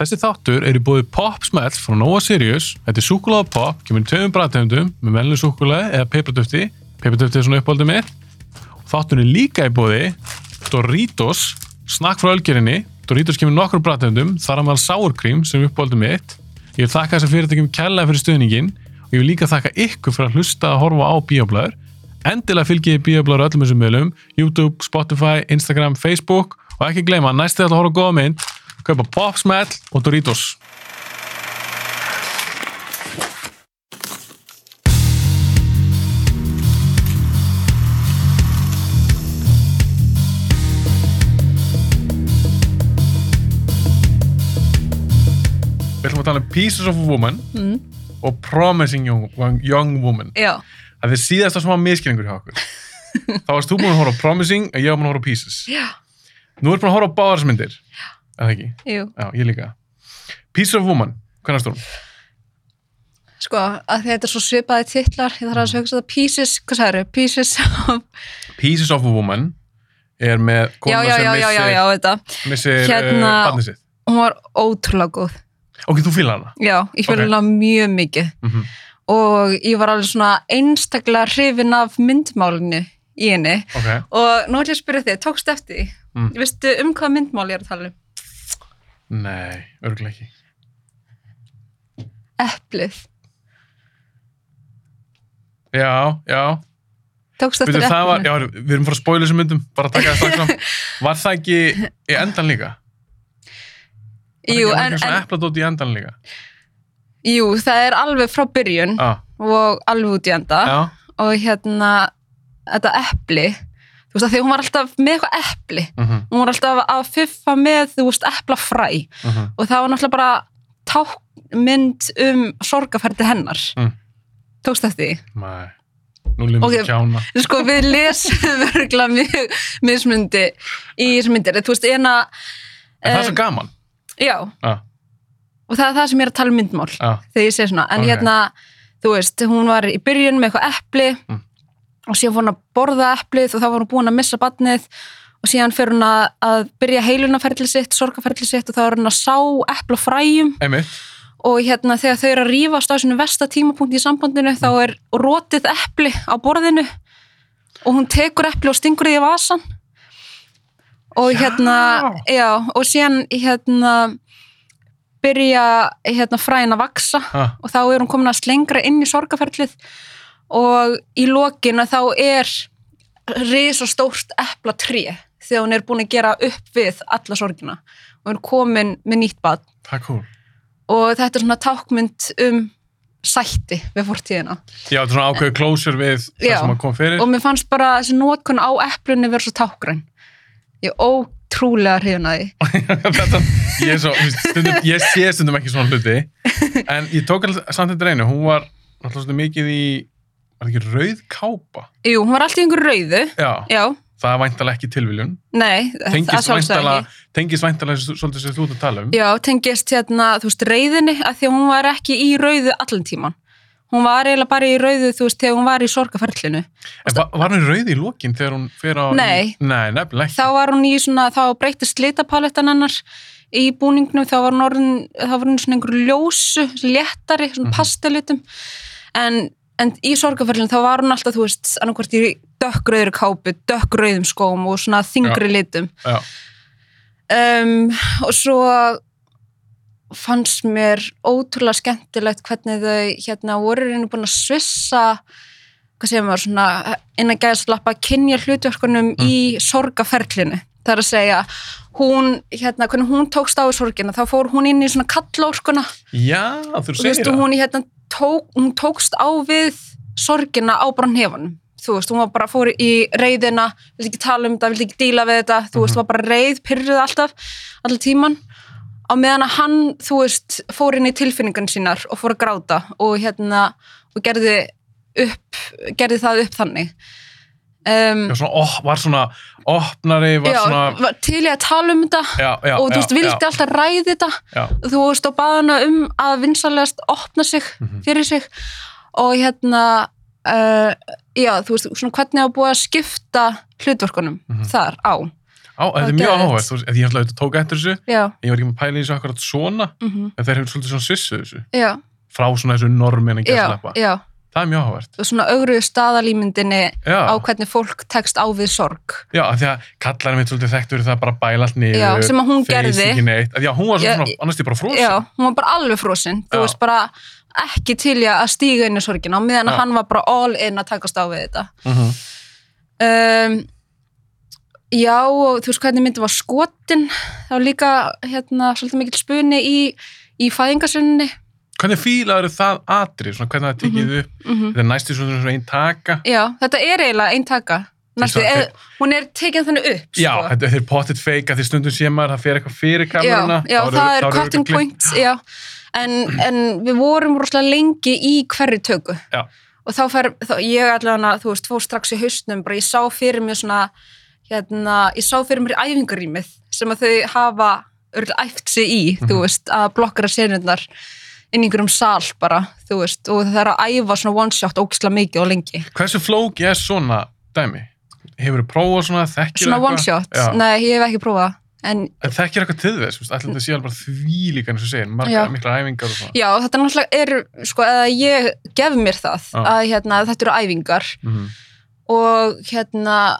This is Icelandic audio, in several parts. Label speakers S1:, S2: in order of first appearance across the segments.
S1: Þessi þáttur er í búið Popsmell frá Nova Sirius. Þetta er súkulega pop, kemur í tveimum bræðtegundum með melnum súkulega eða peipratöfti. Peipratöfti er svona uppáldið mitt. Þáttur er líka í búið Doritos, snakk frá ölgerinni. Doritos kemur í nokkrum bræðtegundum, þar að maður sárkrím sem er uppáldið mitt. Ég vil þakka þessar fyrirtækjum kærlega fyrir stuðningin og ég vil líka þakka ykkur fyrir að hlusta að horfa á bíoblæður. Endilega fylgjið bíoblæður öllum þessum meðlum, YouTube, Spotify, Instagram, Facebook og ekki gleyma, næstu þetta að horfa á góða mynd, kaupa Popsmell og Doritos. Við ætlum að tala um Pieces of a Woman
S2: Mm.
S1: og Promising Young, young Woman.
S2: Já,
S1: Það er síðasta smá miskilningur hjá okkur. Þá varst þú búin að horfa á Promising og ég var búin að horfa á Pieces.
S2: já,
S1: Nú er búin að horfa á báðarsmyndir. Er það ekki?
S2: jú,
S1: Já, ég líka. Pieces of a Woman, hvernig stórum?
S2: sko, að því þetta er svo svipaði titlar, ég þarf að hugsa þetta pieces, hvað sagður, pieces of,
S1: Pieces of a Woman er með
S2: já,
S1: kona
S2: já, já,
S1: sem
S2: já,
S1: missir,
S2: já, já, þetta,
S1: missir hérna...
S2: Hérna-
S1: uh, barnið sitt.
S2: hún var ótrúlega góð,
S1: Ok, þú fíla hana.
S2: já, ég fyrir
S1: Ok.
S2: hana mjög mikið
S1: Mm
S2: og ég var alveg svona einstaklega hrifin af myndmálinu í henni
S1: Ok,
S2: og nú ætlum ég að spyrja þig, tókstu eftir því,
S1: Mm.
S2: veistu um hvað myndmál ég er að tala um?
S1: nei, örgulega ekki.
S2: Eplið,
S1: Já, já,
S2: tókstu
S1: Veitu,
S2: eftir
S1: það var,
S2: eplinu?
S1: já, við erum frá að spóla þessum myndum, bara að taka það strax fram Var það ekki í endan líka? Var
S2: Jú,
S1: ekki, var
S2: en,
S1: ekki svona
S2: en,
S1: epladót í endan líka?
S2: jú, það er alveg frá byrjun
S1: Ah,
S2: og alveg út í enda.
S1: já,
S2: og hérna þetta epli þú veist að því hún var alltaf með eitthvað epli
S1: uh -huh,
S2: hún var alltaf að fiffa með þú veist eplafræ
S1: uh -huh.
S2: og það var náttúrulega bara tákmynd um sorgaferði hennar
S1: Mm.
S2: tókst eftir því
S1: Nei, nú lífum við
S2: Ok.
S1: kjána
S2: sko við lesum örgulega mjög mismundi í þessum myndir þú veist eina
S1: En það er svo gaman
S2: já
S1: ah,
S2: og það er það sem ég er að tala um myndmál
S1: ah,
S2: þegar ég segi svona, en
S1: Ok.
S2: hérna þú veist, hún var í byrjun með eitthvað epli
S1: Mm.
S2: og síðan fór hún að borða eplið og þá var hún búin að missa batnið og síðan fyrir hún að, að byrja heilunaferðli sitt, sorgaferðli sitt og þá er hún að sá epl og fræjum
S1: Einmitt,
S2: og hérna þegar þau eru að rífast á svona versta tímapunkt í sambandinu þá
S1: Mm.
S2: er rótið epli á borðinu og hún tekur epli og stingur því í vasan og
S1: Já.
S2: hérna já, og síðan hérna byrja hérna fræin að vaksa
S1: ah,
S2: og þá er hún komin að slengra inn í sorgaferlið og í lokinu þá er risa stórt eplatré þegar hún er búin að gera upp við alla sorgina og hún er komin með nýtt bad
S1: það er cool
S2: og þetta er svona tákmynd um sætti við fórtíðina
S1: Já, þetta er svona ákveðið closure við það
S2: Já.
S1: sem að kom fyrir
S2: og mér fannst bara þessi nótkun á eplunni vera svo tákgræn ég er ótrúlega hrifin að því
S1: þetta, ég, er svo, þú veist, stundum, ég sé stundum ekki svona hluti En ég tók alveg samt þetta reynu Hún var alltaf svolítið mikið í Var ekki rauð kápa?
S2: Jú, hún var alltaf í einhverju rauðu
S1: Já,
S2: Já,
S1: það er væntalega ekki tilviljun
S2: nei,
S1: tengist
S2: sjálfsögðu
S1: væntalega tengist væntalega þessu- svolítið sem þú ert að tala um
S2: Já, tengist hérna, þú veist, reyðinni að því að hún var ekki í rauðu allan tíman hún var eiginlega bara í rauðu, þú veist, þegar hún var í sorgaferlinu
S1: en var, var hún rauð í lokin þegar hún fer á
S2: Nei.
S1: nei nefnilega ekki
S2: þá var hún í svona, þá breytist litapalettan hennar í búningnum þá var hún orðin, þá var hún svona einhverju ljósu léttari, svona
S1: Mhm.
S2: pastellitum en, en í sorgaferlinu þá var hún alltaf, þú veist, annarkvort í dökkrauður kápu, dökkrauðum skóm og svona þingri litum
S1: Já.
S2: um, og svo fannst mér ótrúlega skemmtilegt hvernig þau hérna voru reynu búin að svissa hvað segir maður svona innan gæðast lappa kynja hlutverkunum í sorgaferlinu það er að segja hún hérna hvernig hún tókst á í sorgina þá fór hún inn í svona kallórkuna
S1: já þú
S2: og
S1: segir
S2: veistu,
S1: það
S2: hún, hérna, tók, hún tókst á við sorgina á brannhefanum þú veist, hún var bara fór í reyðina vildi ekki tala um þetta, vildi ekki díla við þetta þú veist,
S1: Mhm.
S2: var bara reyð, pyrruð alltaf allan tíman, á meðan að hann þú veist, fór inn í tilfinningan sínar og fór að gráta og hérna og gerði upp gerði það upp þannig um,
S1: já, svona, ó, var svona opnari var
S2: já,
S1: svona
S2: var til ég að tala um þetta
S1: já, já,
S2: og þú veist,
S1: já,
S2: vildi alltaf ræði þetta
S1: já, já,
S2: þú veist og baða hana um að vinsalegast opna sig
S1: Mhm.
S2: fyrir sig og hérna uh, já, þú veist, svona hvernig á búið að skipta hlutverkunum
S1: Mhm.
S2: þar á
S1: Á, þetta er
S2: Á,
S1: mjög
S2: geðveikt.
S1: áhugað, þú veist, ég ætlaði auðvitað tók eftir þessu,
S2: já,
S1: en ég var ekki með pæli í þessu akkurat svona,
S2: mhm,
S1: en þeir hefur svolítið svona svissuð þessu,
S2: já,
S1: frá svona þessu normin að
S2: já,
S1: gæsleppa.
S2: já
S1: Það er mjög áhugað.
S2: og svona ögruðu staðalýmyndinni
S1: Já,
S2: á hvernig fólk tekst á við sorg
S1: já, af því að kallarinn mitt svolítið þekkt verið það bara að bæla allt niður,
S2: já, sem að hún
S1: feis
S2: gerði
S1: ekki neitt, Af því að hún var
S2: Já,
S1: svona, annars er ég bara fróðsinn.
S2: já, hún var bara alveg frosin
S1: Já.
S2: þú veist bara ekki til í að stíga inn í sorgina á meðan
S1: Já.
S2: hann var bara all in að takast á við þetta
S1: Mhm.
S2: um, já og þú veist hvernig myndi var skotin það var líka hérna svolítið mikill spuni í, í fæðingarsunni
S1: Hvernig fílaður það atri, svona hvernig það er
S2: Mhm.
S1: tekið upp, þetta er næstu svona, svona einn taka,
S2: já, þetta er eiginlega einn taka Næstu,
S1: Eins og
S2: eð, hún er tekin þannig upp
S1: Já,
S2: sko.
S1: þetta þetta er pottet fake að því stundum sé maður það fer eitthvað fyrir kameruna.
S2: já, já
S1: þá
S2: það
S1: þá
S2: er cutting
S1: örugglega-
S2: point já. En, en við vorum rosalega lengi í hverri töku
S1: Já.
S2: og þá fer, þá, ég allavega þú veist, fór strax í haustnum, bara ég sá fyrir mér svona, hérna, ég sá fyrir mér æfingarýmið sem að þau hafa örgulega æft sig í, þú
S1: Mhm.
S2: veist að blokkara senurnar inn í einhverjum sal bara, þú veist og það er að æfa svona one shot ógislega mikið og lengi
S1: Hversu flóki er svona dæmi? Hefur þú prófað svona, þekkir
S2: svona one shot,
S1: Já.
S2: nei, ég hef ekki prófað en
S1: En þekkir eitthvað til þess, veist, ætlum þetta sé alveg bara þvílíkan eins og segir,
S2: Já.
S1: margar, mikla æfingar og svona.
S2: Já, þetta náttúrulega er, sko, að ég gef mér það,
S1: Já.
S2: að hérna, þetta eru æfingar
S1: Mhm.
S2: og hérna,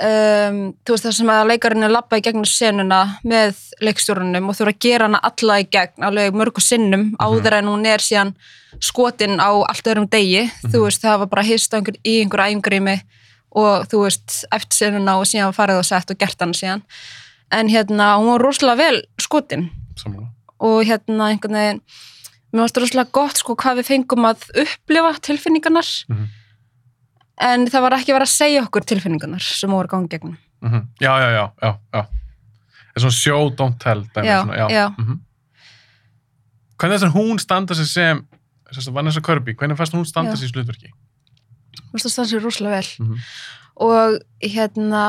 S2: um, þú veist það sem að leikarinn er labba í gegnum senuna með leikstjórunum og þú eru að gera hana alla í gegn, alveg mörgu sinnum áður en hún er síðan skotin á allt öðrum degi, þú
S1: Mhm.
S2: veist það var bara hist á einhver, í einhver æfingrými og þú veist, eftir senuna og síðan farið og sett og gert hana síðan en hérna, hún var rosalega vel skotin
S1: Sammála.
S2: og hérna einhvern veginn mér varst rosalega gott sko hvað við fengum að upplifa tilfinningarnar
S1: Mhm.
S2: en það var ekki verið að segja okkur tilfinningarnar sem voru gangi gegnum
S1: Mhm. Já, já, já, já, já. Það er svona show, don't tell dæmi.
S2: Já,
S1: svona, já.
S2: já.
S1: Mhm. Hvernig þess að hún standa sig sem, þess að Vanessa Kirby, hvernig fannst hún standa
S2: Já.
S1: sig í slutverki?
S2: mér varst að stansa rosalega vel
S1: Mhm.
S2: og hérna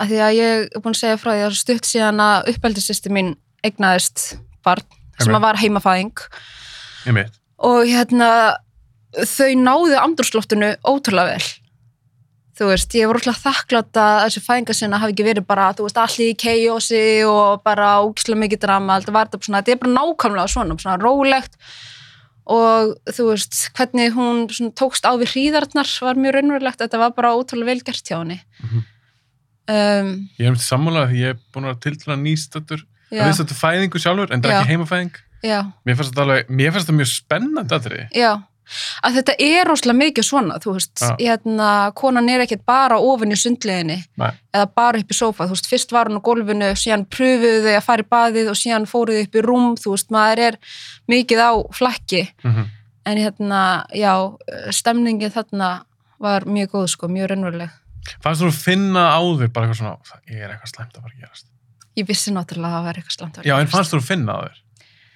S2: að því að ég er búin að segja frá því að það er stutt síðan að uppeldisisti mín eignaðist barn sem
S1: Einmitt.
S2: að var heimafæðing
S1: Ég mitt.
S2: og hérna þau náðu andrúrsloftinu ótrúlega vel þú veist, ég var ótrúlega þakklátt að þessi fæðingar sinna hafi ekki verið bara, þú veist, allir í keiósi og bara ógislega mikið drama, þetta var þetta svona, þetta er bara nákvæmlega svona, svona rólegt og þú veist, hvernig hún svona, tókst á við hríðarnar var mjög raunverulegt, þetta var bara ótrúlega vel gert hjá henni
S1: Mhm.
S2: um,
S1: Ég er mitt sammála því ég er búin að tiltala nýstættur
S2: já,
S1: Það finnst þetta fæðingu sjálfur, en það er
S2: Já.
S1: ekki heimafæðing.
S2: já,
S1: Mér finnst þetta alveg, mér finnst þetta mjög spennandi aðri.
S2: já að þetta er rosalega mikið svona, þú veist
S1: Já.
S2: hérna, konan er ekkert bara ofin í sundleginni
S1: Nei.
S2: eða bara upp í sófa, þú veist, fyrst var hún á gólfinu, síðan pröfuðu þau að fara í baðið og síðan fóruðu upp í rúm, þú veist, maður er mikið á flakki,
S1: Mm
S2: en hérna, já, stemningin þarna var mjög góð, sko, mjög raunveruleg.
S1: Fannst þú að finna á þér bara eitthvað svona, það er eitthvað slæmt að fara að gerast.
S2: Ég vissi náttúrulega að það var eitthvað slant.
S1: Já, en fannst þú að finna á þér?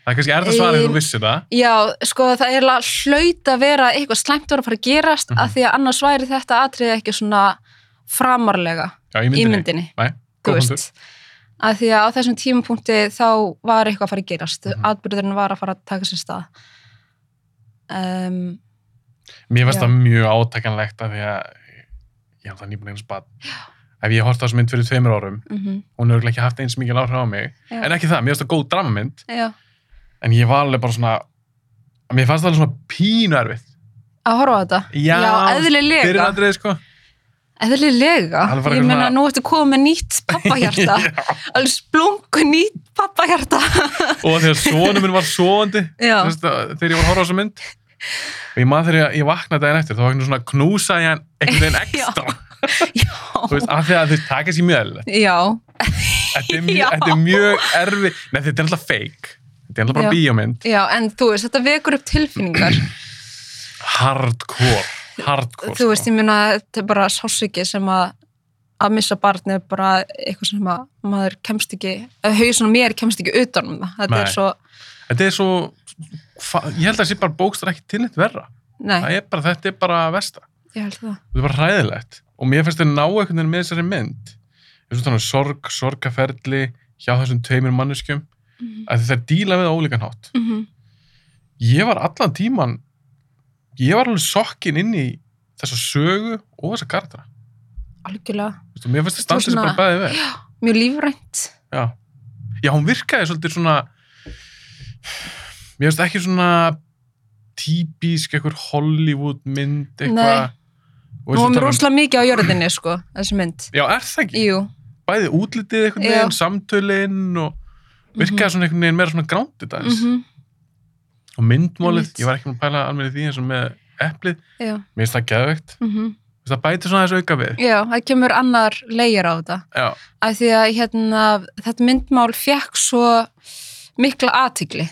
S1: Það er kannski erða svarið
S2: Ein-
S1: þú vissir það.
S2: Já, sko, það er alveg hlaut að vera eitthvað slæmt var að fara að gerast,
S1: Mhm.
S2: af því að annars væri þetta atriði ekki svona framarlega
S1: Já, í
S2: í
S1: myndinni.
S2: myndinni.
S1: Nei,
S2: þú
S1: góð punktur.
S2: veist að því að á þessum tímapunkti þá var eitthvað að fara að gerast
S1: Mhm.
S2: atbyrðurinn var að fara að taka sér stað um,
S1: Mér finnst
S2: Já.
S1: það mjög átakanlegt af því að ég hef það nýbúin eins bad. Ef ég horfði á þessu mynd fyrir tveimur árum,
S2: mm
S1: hún hefur örugglega ekki haft eins mikil áhrif á mig.
S2: Já.
S1: En ekki það, mér finnst það góð dramamynd,
S2: já,
S1: en ég var alveg bara svona, mér fannst það alveg svona pínu erfitt.
S2: að horfa á þetta
S1: Já, fyrir
S2: eðlilega
S1: aðrið, sko.
S2: eðlilega,
S1: Alveg bara
S2: ég meina
S1: svona-
S2: nú ertu komið með nýtt pappahjarta alveg splungu nýtt pappahjarta
S1: og þegar sonu minn var svoandi
S2: Já.
S1: þegar ég var að horfa á þessa mynd og ég maður þegar ég, ég vaknaði daginn eftir þá var ekki svona knúsa ég hann einhvern veginn ekstra þú veist, af því að þú veist, taka sér mjög eðlilegt
S2: já,
S1: þetta er mjög,
S2: Já.
S1: þetta er mjög erfi nei, þetta er alltaf fake þetta er alltaf bara
S2: Já.
S1: bíómynd
S2: já, en þú veist þetta vekur upp tilfinningar
S1: hardcore, hardcore sko.
S2: þú veist, ég meina þetta er bara sásiki sem að að missa barni er bara eitthvað sem að maður kemst ekki, að hausun og mér kemst ekki utan um það, þetta
S1: Nei.
S2: er svo
S1: þetta er svo hva, ég held að það sé bara bókstur ekki til neitt verra
S2: nei,
S1: það er bara, þetta er bara versta
S2: ég held það
S1: þetta er bara hræðilegt og mér finnst þetta ná einhvern veginn með þessari mynd eins og þannig um sorg, sorgaferli hjá þessum tveimur manneskjum
S2: Mhm.
S1: að þetta er díla við á ólíkan hátt
S2: mm -hmm.
S1: ég var allan tíman ég var alveg sokkin inn í þessa sögu og þessa karaktera
S2: algjörlega,
S1: Veistu, mér finnst það
S2: Þú
S1: standið sem
S2: svona-
S1: bara bæði vel
S2: mjög lífrænt
S1: Já. Já, hún virkaði svolítið svona mér finnst ekki svona típísk eitthvað Hollywood mynd
S2: Nei.
S1: eitthvað Og eins og
S2: hún var
S1: tala um-
S2: rosalega mikið á jörðinni sko, þessi mynd
S1: Já, er það ekki?
S2: Jú,
S1: Bæði útlitið einhvern
S2: Já. Mhm.
S1: veginn, samtölin og virkaði svona einhvern veginn meira svona grándið
S2: mm
S1: aðeins og myndmálið,
S2: Einmitt.
S1: ég var ekki með að pæla alveg í því eins og með eplið,
S2: já,
S1: mér finnst það geðveikt
S2: mm
S1: Mér finnst það bæti svona aðeins auka við
S2: já, það kemur annar leir á þetta
S1: Já,
S2: af því að hérna, þetta myndmál fekk svo mikla athygli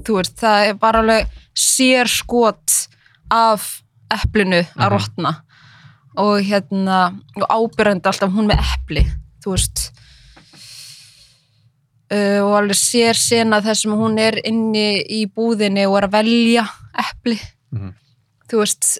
S2: þú veist, það er bara alveg sér skot af eplinu
S1: Mhm.
S2: að rotna og hérna og ábyrjandi alltaf hún með epli þú veist uh, og alveg sér sena þar sem hún er inni í búðinni og er að velja epli
S1: Mhm.
S2: þú veist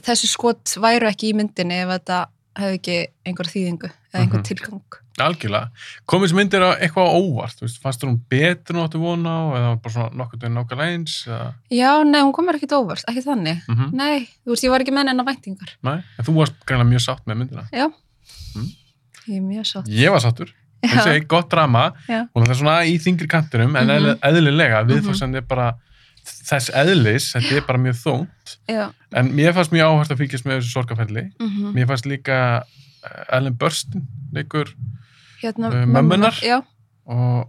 S2: þessi skot væru ekki í myndinni ef þetta hefði ekki einhver þýðingu eða einhver
S1: Mhm.
S2: tilgang
S1: algjörlega. Komið sem myndir á eitthvað á óvart, þú veist, fannst þú hún betur en þú áttu vona á eða bara svona nokkuð veginn nákvæmlega eins eða,
S2: Já, nei, hún komur ekkert óvart, ekki þannig.
S1: mm
S2: Nei, þú veist, ég var ekki með hennar væntingar.
S1: Nei, en þú varst greinlega mjög sátt með myndina.
S2: Já,
S1: Mm.
S2: ég er mjög sátt.
S1: Ég var sáttur. Það segi, gott drama.
S2: Já.
S1: Hún er svona í þingri kantinum, en
S2: Mhm.
S1: mm eðlilega, viðfórsend er bara þess eðlis, þetta er bara mjög þungt.
S2: Já,
S1: En mér fannst mjög áhært að fylgjast með þessu sorgaferli.
S2: mm
S1: Mér fannst líka eh, Ellen Burstyn, leikur,
S2: hérna,
S1: uh,
S2: mömmu-
S1: mömmunar?
S2: Já,
S1: og...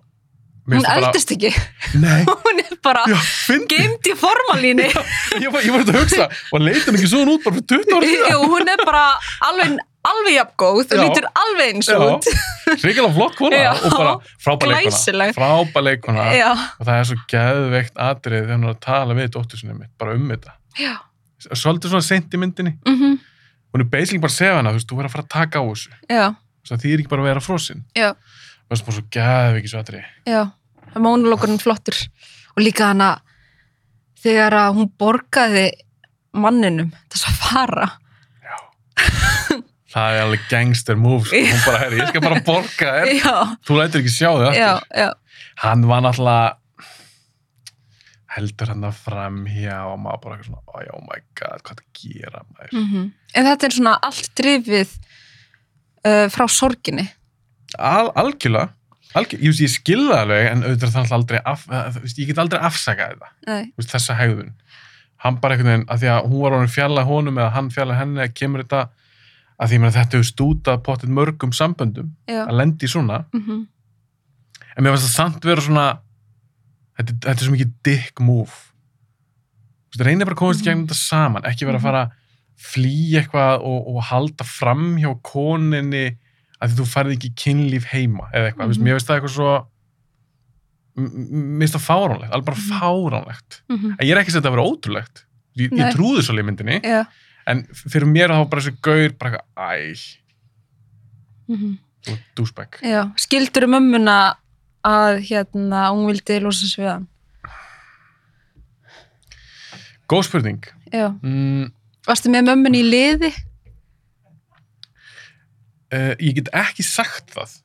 S1: mér
S2: hún
S1: finnst það bara-
S2: eldist ekki,
S1: Nei,
S2: hún er bara
S1: já, fyndi.
S2: geimt í formalínu
S1: Ég var, ég var þetta að hugsa, var leitin ekki svona út bara fyrir 20 ára síðan?
S2: og hún er bara alveg, alveg jafngóð og
S1: Já.
S2: lítur alveg eins út.
S1: Já, hrikalega flott kona
S2: Já.
S1: og bara frábæleikona.
S2: Glæsileg.
S1: Frábæleikona
S2: Já,
S1: og það er svo geðveikt atrið þegar hún er að tala við dóttur sinni mitt, bara um þetta.
S2: já,
S1: Svolítið svona sent í myndinni.
S2: mm
S1: Hún er basically bara að segja hana, þú veist, þú verður að fara að taka á þessu.
S2: já,
S1: Þess að því er ekki bara að vera frosinn.
S2: Já.
S1: Það er bara svo geðveikis atrið.
S2: já. Það er mónulókurinn flottur og líka hana þegar að hún borgaði manninum þess að fara.
S1: Það er alveg gangster move, sko. Hún bara, herri, ég skal bara borga þér.
S2: Já,
S1: Þú lætur ekki sjá þig
S2: já,
S1: aftur.
S2: já,
S1: Hann var náttúrulega heldur hann að framhjá og maður bara eitthvað svona, "Æ, oh my god, hvað er að gera maður?
S2: -hmm. En þetta er svona allt drifið uh, frá sorginni.
S1: Al, algjörlega, algjörlega, ég, veist, ég skilða alveg en auðvitað þannig aldrei af, að, þú veist, ég get aldrei afsakað þetta,
S2: Nei.
S1: þú veist, þessa hegðun hann bara einhvern veginn, að því að hún var orðin fjalla honum eða hann fjalla henni, kemur þetta að því að þetta hefur stútað potið mörgum samböndum,
S2: Já.
S1: að lendi í svona
S2: Mm -hmm.
S1: en mér finnst það samt vera svona þetta, þetta er svo mikið dick move þú veist, reynir bara að komast í gegnum
S2: Mhm.
S1: þetta saman ekki vera að fara að flýja eitthvað og, og halda fram hjá koninni að þú færði ekki kynlíf heima eða eitthvað, mm
S2: Mhm.
S1: -hmm. mér finnst það eitthvað svo m- m- mér finnst það fáránlegt alveg bara
S2: Mhm.
S1: fáránlegt en ég er ekki sem þetta að vera ótrúlegt ég, ég
S2: Nei.
S1: trúði svo myndinni
S2: Já.
S1: en fyrir mér þá var bara þessi gaur bara eitthvað, æ,
S2: Mm -hmm.
S1: þú er douchebag
S2: Já. Skildur mömmuna að hérna, hún vildi losa sig við hann.
S1: góð spurning
S2: Já.
S1: mm,
S2: Varstu með mömmun í liði?
S1: uh, ég get ekki sagt það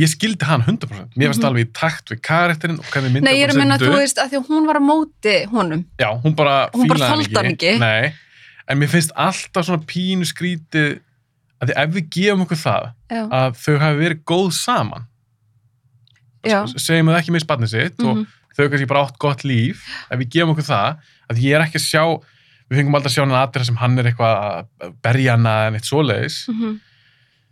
S1: ég skildi hann 100% mér finnst
S2: Mhm.
S1: alveg í takt við karakterinn og hvernig mynda
S2: Nei, ég er að minna, þú veist, að því að hún var á móti honum.
S1: já, hún bara
S2: Hún bara
S1: fílaði
S2: þoldi hann ekki.
S1: Nei, en mér finnst alltaf svona pínu skrítið að því ef við gefum okkur það
S2: Já.
S1: að þau hafi verið góð saman
S2: Já.
S1: S- segjum að það ekki með spannið sitt
S2: Mm
S1: og þau kannski bara átt gott líf ef við gefum okkur það að ég er ekki að sjá við fengum aldrei að sjá hann aðra sem hann er eitthvað að berja hana en eitt svoleiðis
S2: -hmm.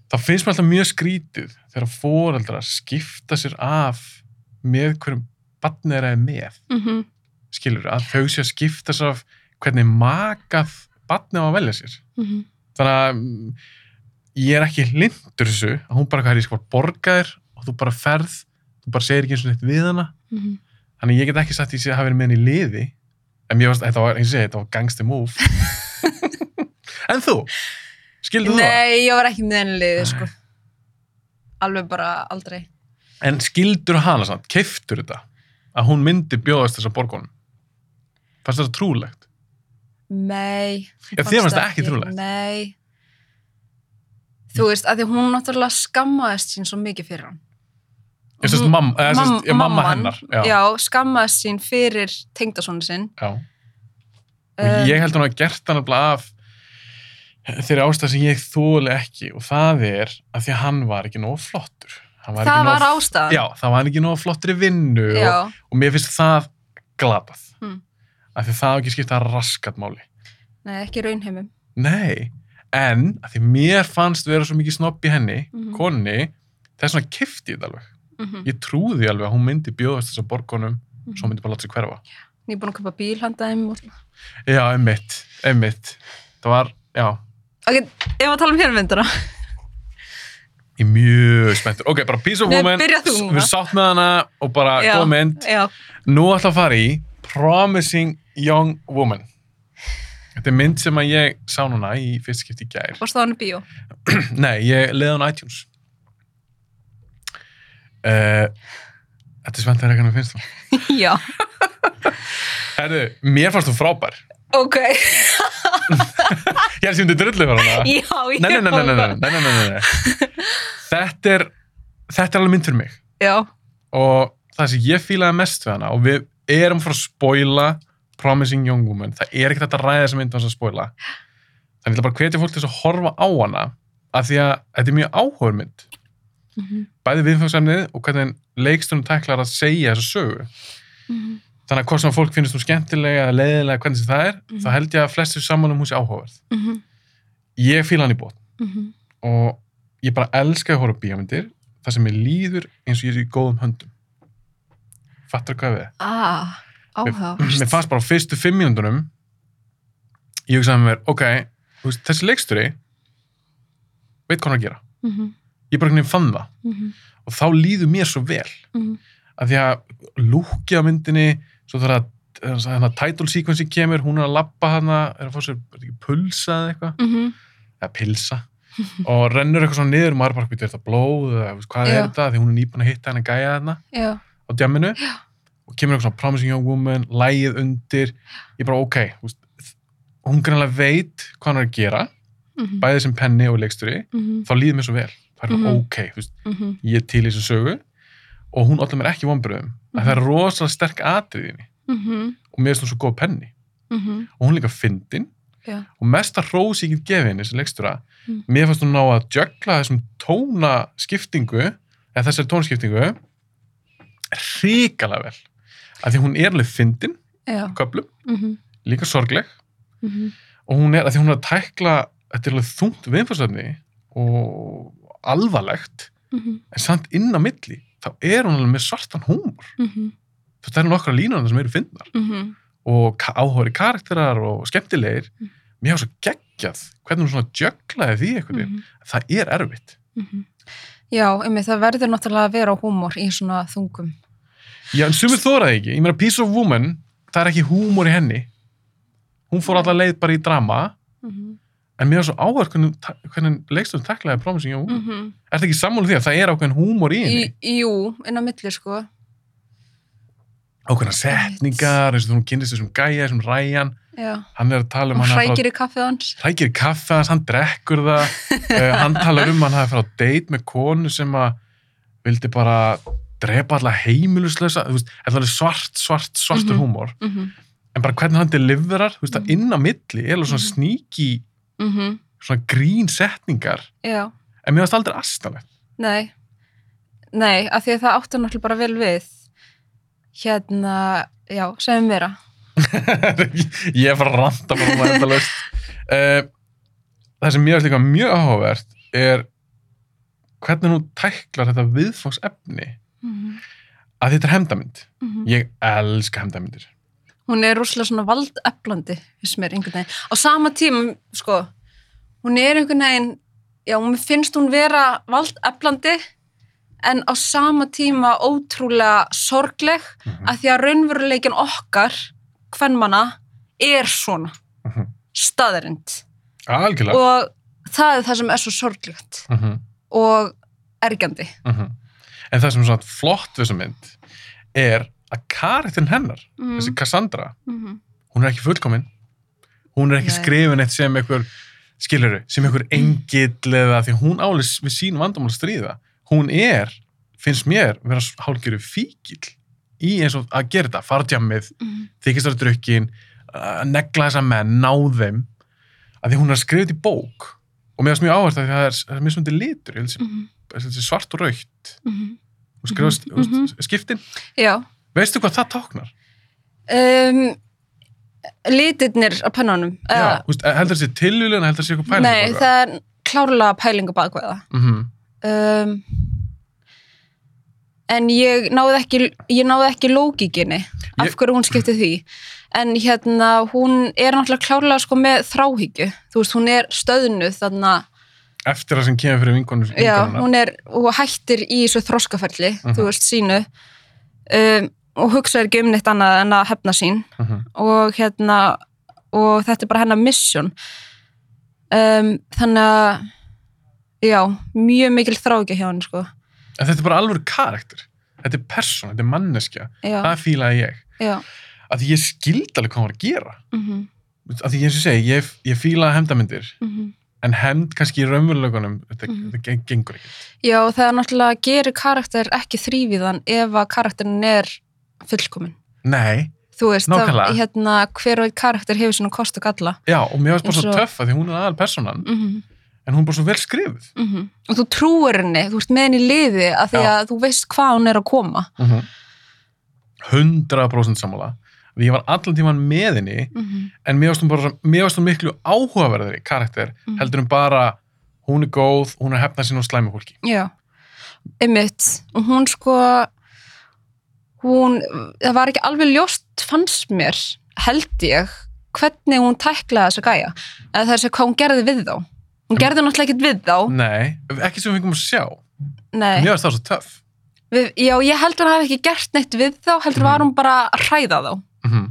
S1: þá finnst mér alltaf mjög skrítið þegar foreldrar skipta sér af með hverjum barnið er eða með,
S2: Mm -hmm.
S1: skilur, að þau sé að skipta sér af hvernig makað barnið á að velja sér.
S2: mhm,
S1: Þannig að mm, ég er ekki hlindur þessu að hún bara, hvað er ég, sko bara borga þér og þú bara ferð, þú bara segir ekki eins og neitt við hana.
S2: mhm.
S1: Þannig að ég get ekki sagt því að hafa verið með henni í liði, en mér varst, þetta var, eins og ég segi, þetta var gangster move. en þú, skildur þú það?
S2: Nei, ég var ekki með henni í liði, sko. Alveg bara aldrei.
S1: En skildur hana samt, keiftur þetta að hún myndi bjóðast þessa borgunum? Fannst þetta trúlegt?
S2: Nei.
S1: Ef þér fannst það ekki trúlegt?
S2: Nei. Þú veist, að því hún náttúrulega skammaðist sín svo mikið fyrir hann.
S1: Ég sérst
S2: Hún-
S1: mamma, eða
S2: Mam-
S1: sérst, ég mamma
S2: mamman,
S1: hennar.
S2: Mm, Já.
S1: Já.
S2: skammaðist sín fyrir tengdasónu sinn.
S1: já. Og
S2: Um,
S1: ég held að hún hafa gert hann alveg af þeirri ástæð sem ég þóli ekki og það er að því að hann var ekki nógu flottur. Hann
S2: það
S1: ekki
S2: var,
S1: nóg-
S2: ástæðan
S1: Já, það var ekki nóg flottri vinnu og,
S2: Um, Já,
S1: og mér finnst það glatað.
S2: Mm.
S1: Af því það á ekki skipta raskat máli.
S2: nei, ekki raunheimum
S1: Nei, en af því mér fannst vera svo mikið snobb í henni,
S2: Mhm.
S1: konni, þess vegna kifti ég þetta alveg.
S2: mm -hmm.
S1: Ég trúði alveg að hún myndi bjóðast þess að borgunum,
S2: Mhm.
S1: svo myndi bara láta sig hverfa.
S2: ég er búin að köpa bíl handa þeim og...
S1: Já, einmitt, einmitt. Það var, já,
S2: ok, ég var að tala um hérna myndina
S1: ég er mjög spenntur. Ok, bara Piece of
S2: Nei,
S1: Woman,
S2: byrja þú núna.
S1: við sátt með hana og bara
S2: Já.
S1: góð mynd.
S2: já,
S1: Nú ætla að fara í Promising Young Woman. Þetta er mynd sem að ég sá núna í fyrst skipti í gær.
S2: varst það hann í bíó
S1: Nei, ég leiði hún á iTunes. Uh, þetta er spennt að reyna að finnst þú.
S2: já,
S1: Herðu, mér fannst þú frábær.
S2: ok
S1: Ég held sem þú drullu fyrir hana.
S2: já, ég
S1: Nei, nei, nei, nei, nei, nei, nei, nei, nei, nei. Þetta er, þetta er alveg mynd fyrir mig.
S2: já,
S1: og það sem ég fílaði mest við hana og við erum frá að spoila Promising Young Woman, það er ekkert hægt að ræða þessa mynd án þess að spoila þannig ég ætla bara að hvetja fólk til þess að horfa á hana af því að þetta er mjög áhugur mynd
S2: mm -hmm.
S1: bæði viðfangsefnið og hvernig leikstunum tæklar að segja þessa sögu
S2: Mhm.
S1: þannig að hvort sem að fólk finnst þú skemmtilega eða leiðilega hvernig sem það er
S2: Mhm.
S1: þá held ég að flestir saman um hún sé áhugaverð ég fíla hann í bótt
S2: Mhm.
S1: og ég bara elska að horfa á bíómyndir þar sem ég líður eins og ég er í góðum höndum fattar hvað við
S2: ah, áhugavert.
S1: mér fannst bara á fyrstu fimm mínúndunum ég hugsaði með mér, ok þú veist, þessi leiksturi veit hvað hann er að gera
S2: Mhm,
S1: ég bara hvernig fann það
S2: mhm,
S1: og þá líður mér svo vel
S2: mhm.
S1: af því að lúki á myndinni svo þarf að þannig að title sequence kemur, hún er að labba hana er að fá sér er ekki, pulsa eða eitthvað
S2: Mhm,
S1: eða pilsa og rennur eitthvað svona niður og maður bara býtur þetta blóð eða þú veist, hvað er
S2: Já.
S1: þetta, því hún er nýbúin að hitta henni gæja þarna
S2: já,
S1: á djamminu og kemur eitthvað svona Promising Young Woman, lægið undir ég bara ok, þú veist, þ- hún grannlega veit hvað hann er að gera
S2: mhm,
S1: bæðið sem penni og leiksturi,
S2: mhm,
S1: þá líður mér svo vel það er mm
S2: Mhm.
S1: ok, þú veist,
S2: mhm,
S1: ég er til í þessu sögu og hún allar mér ekki vonbröðum mm
S2: Mhm.
S1: það er rosalega sterk atriðinni
S2: mhm,
S1: og mér finnst hún svo góð penni
S2: mhm.
S1: og hún er líka fyndin
S2: Já.
S1: og mesta hrós ég get gefið henni sem leikstura
S2: Mm.
S1: mér fannst hún ná að jökla þessum tónaskiptingu eða þessari tónaskiptingu ríkala vel af því hún er alveg fyndin
S2: já,
S1: köplum,
S2: mhm,
S1: líka sorgleg
S2: mhm.
S1: og hún er, af því hún er að tækla þetta er alveg þungt viðfarsöfni og alvarlegt
S2: Mhm,
S1: en samt inn á milli þá er hún alveg með svartan húmor
S2: mhm,
S1: þú veist, það eru nokkra línur þarna sem eru fyndnar
S2: mhm.
S1: og ka- áhugri karakterar og skemmtilegir
S2: Mm.
S1: mér hefur svo geggjað hvernig hún svona jöklaði því einhvern veginn
S2: Mhm,
S1: það er erfitt
S2: mhm. Já, emi, það verður náttúrulega að vera húmor í svona þungum.
S1: já, en sumir þóraði ekki, ég meina Piece of Woman það er ekki húmor í henni hún fór alltaf leið bara í drama
S2: Mhm,
S1: en mér hefur svo áhugri hvernig, ta- hvernig leikstum taklaði Promising Young Woman
S2: mhm.
S1: er þetta ekki sammála því að það er ákveðin húmor í henni
S2: Í- Jú, inn á milli, sko.
S1: ákveðina setningar, eins og þú kynist þessum gæja þessum ræjan,
S2: Já,
S1: hann er að tala um
S2: og
S1: hann hafi farið á
S2: hrækir í kaffið hans.
S1: hrækir í kaffe hans, hann drekkur það uh, hann talar um að hann hafi farið á date með konu sem að vildi bara drepa alla heimiluslösa þú veist, þetta er alveg svart, svart, svartur
S2: Mhm.
S1: húmor
S2: Mhm,
S1: en bara hvernig hann deliverar, þú veist, að
S2: Mhm.
S1: inn á milli er alveg svona
S2: Mhm.
S1: sníki
S2: mhm,
S1: svona grín setningar
S2: já.
S1: en mér varst aldrei astanlegt
S2: Nei, nei, af því að það áttu náttúrulega bara vel við hérna, já, sem vera
S1: ég er bara að ranta bara um þetta löst uh, það sem mér varst líka mjög áhugavert er hvernig hún tæklar þetta viðfóksefni
S2: Mhm,
S1: að þetta er hefndamynd Ég elska hefndarmyndir.
S2: Hún er rúslega svona valdeflandi finnst mér einhvern veginn, á sama tíma sko, hún er einhvern veginn já, hún finnst hún vera valdeflandi en á sama tíma ótrúlega sorgleg
S1: Mhm.
S2: af því að raunveruleikin okkar hvernmanna er svona
S1: Mhm.
S2: staðarind
S1: Algjörlega.
S2: og það er það sem er svo sorglegt
S1: Mhm,
S2: og ergjandi.
S1: mhm. En það sem er svona flott við þessa mynd er að karakterin hennar,
S2: Mm.
S1: þessi Cassandra,
S2: mm -hmm.
S1: hún er ekki fullkomin. Hún er ekki
S2: Nei.
S1: skrifin eitt sem einhver, skiluru, sem einhver engill eða því hún ális við sín vandamál að stríða. Hún er, finnst mér, vera hálgjöru fíkil í eins og að gera þetta, fara á djammið, þykist þar drukkin, uh, negla þessa menn, ná þeim, að því hún er að skrifa þetta í bók og mér finnst mjög áherslu að það er, það er mismundi litur, ég held sem þessi svart og raukt
S2: Mhm.
S1: og skrifast mm
S2: Mhm.
S1: -hmm. skiptin
S2: Já.
S1: veistu hvað það táknar?
S2: Um, litirnir á pönnunum.
S1: Já, þú veist, e, heldur þessi tilvílun heldur þessi eitthvað pæling
S2: Nei, það er klárlega pælingu bakveða.
S1: mm -hmm.
S2: Um, en ég náði ekki, ég náði ekki lógikinni af
S1: Ég-
S2: hverju hún skipti því. En hérna, hún er náttúrulega klárlega sko með þráhyggju. Þú veist, hún er stöðnuð þarna,
S1: eftir það sem kemur fyrir vinkonu
S2: já, hún er, hún hættir í þessu þroskaferli,
S1: Mhm.
S2: þú veist, sínu. Um, og hugsaði ekki um neitt annað en að hefna sín.
S1: Mhm.
S2: og hérna og þetta er bara hennar mission um, þannig að já, mjög mikil þrákja hjá henni sko
S1: en þetta er bara alveg karakter þetta er persóna, þetta er manneskja
S2: já,
S1: það fílaði ég
S2: já,
S1: að því ég skildi alveg hvað hún var að gera
S2: mm -hmm,
S1: að því eins og ég segi, ég, ég fílaði hefndamyndir en hefnd kannski í raunveruleikunum þetta,
S2: Mhm.
S1: þetta gen- gengur ekki
S2: já, það er náttúrulega gerir karakter ekki þrýviðan ef að karakterin er fullkomin
S1: nei,
S2: þú veist,
S1: Nákvæmlega.
S2: hérna, hver og einn karakter hefur svona kost og galla
S1: já, og mér varst bara svo
S2: Eins og-
S1: töff að því hún er aðal personan
S2: mm -hmm,
S1: en hún er bara svo vel skrifuð
S2: mhm. og þú trúir henni, þú ert með henni í liði að því
S1: Já.
S2: að þú veist hvað hún er að koma
S1: mm 100% sammála því ég var allan tíman með henni
S2: mm -hmm,
S1: en mér varst hún bara, mér varst hún miklu áhugaverðari karakter,
S2: Mhm.
S1: heldur hún bara hún er góð, hún er að hefna sín og slæmi fólki
S2: Já, einmitt og hún sko hún, það var ekki alveg ljóst fannst mér, held ég hvernig hún tæklaði þessa gæja eða það er sér hvað hún gerði við þá hún gerði náttúrulega ekkert við þá
S1: nei, ekki sem við fengum að sjá
S2: Nei,
S1: mér varst það svo töff
S2: við, já, ég heldur hann hafi ekki gert neitt við þá heldur
S1: Mhm.
S2: var hún bara að hræða þá
S1: mm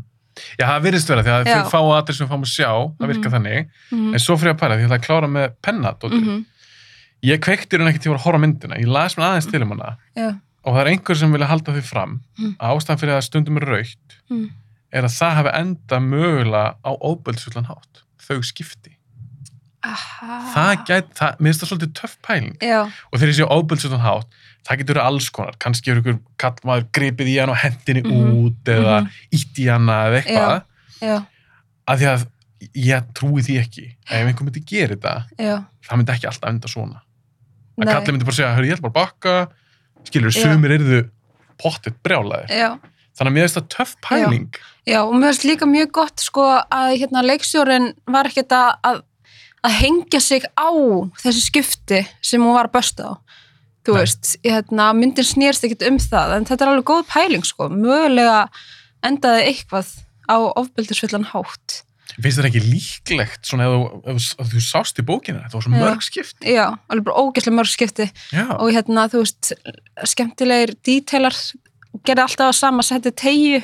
S1: já, það virðist vera því að
S2: Já.
S1: þau fá aðeins sem við fáum að sjá, það virka
S2: Mhm.
S1: þannig
S2: mm
S1: en svo fyrir ég að pæla, því ég ætla að klára með penna mm
S2: -hmm.
S1: ég kveikti hún ekkert til að horfa á myndina ég las mér aðeins til um hana
S2: Já.
S1: og það er einhver sem vilja halda því fram
S2: Mhm.
S1: að ástæðan fyrir að stundum er raukt
S2: Mhm.
S1: er að það hafi enda mögulega á óböldsvullan hátt þau skipti
S2: Ah.
S1: það gæti, það, mér finnst það svolítið töff pæling
S2: Já,
S1: og þegar ég sé ofbeldsvöldan hátt það getur verið alls konar, kannski er ykkur kallmaður gripið í hann og hendinni
S2: Mhm.
S1: út eða mm í hana eða eitthvað
S2: já,
S1: af því að ég trúi því ekki að ef einhver myndi gera þetta
S2: já
S1: það myndi ekki alltaf enda svona að
S2: Nei.
S1: kallið myndi bara segja, hörru ég ætla bara að bakka skilur,
S2: Já.
S1: sumir eru pottet brjálaðir
S2: Já,
S1: þannig að mér finnst það töff pæling
S2: Já, og mér finnst líka mjög gott sko að hérna, leikstjórin var ekkert að, að, að hengja sig á þessi skipti sem hún var að bösta á. Þú
S1: Nei.
S2: veist, hérna, myndin snýrst ekkert um það, en þetta er alveg góð pæling sko. Mögulega endaði eitthvað á ofbildisvillan hátt.
S1: finnst það ekki líklegt svona ef, þú- ef, þú- ef þú sást í bókina, þetta var svo
S2: Já.
S1: mörg skipt
S2: Já, alveg bara ógæslega mörg skipti
S1: já,
S2: og hérna, þú veist, skemmtilegir dítelar gerði alltaf á sama, setti tegju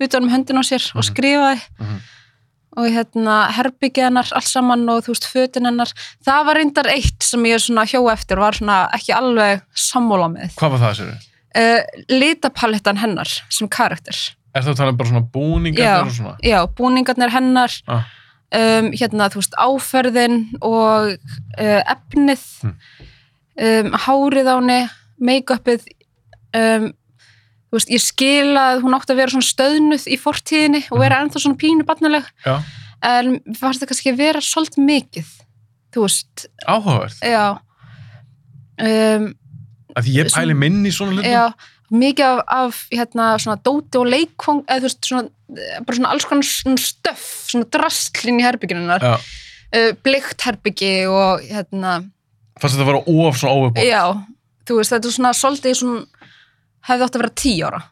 S2: utan um höndin á sér og
S1: Mhm.
S2: skrifaði
S1: Mhm.
S2: og hérna herbyggið hennar allt saman og þú veist fötin hennar það var reyndar eitt sem ég svona hjó eftir og var svona ekki alveg sammála með
S1: hvað var það sér?
S2: uh, litapalettan hennar sem karakter
S1: Er það að tala um bara svona búningar
S2: Já.
S1: og svona?
S2: já, búningarnir hennar
S1: Ah.
S2: um, hérna þú veist áferðin og uh, efnið
S1: Hmm.
S2: um, hárið á henni make-upið um, þú veist, ég skil að hún átti að vera svona stöðnuð í fortíðinni og vera
S1: Hmm.
S2: ennþá svona pínu barnaleg
S1: Já,
S2: en var þetta kannski að vera svolítið mikið þú veist,
S1: áhugavert.
S2: já um,
S1: Af því ég pæli
S2: Svona-
S1: minn í svona hlutum.
S2: já, mikið af, af hérna, svona dóti og leikfang eða þú veist, svona, eh, bara svona alls konar svona stöff, svona drastlinn í herbygginunar
S1: Já.
S2: uh, bleikt herbyggi og hérna,
S1: Fannst þetta að vera of svona óöfbótt.
S2: já þú veist, þetta er svona svolítið svona hefði átt að vera tíu ára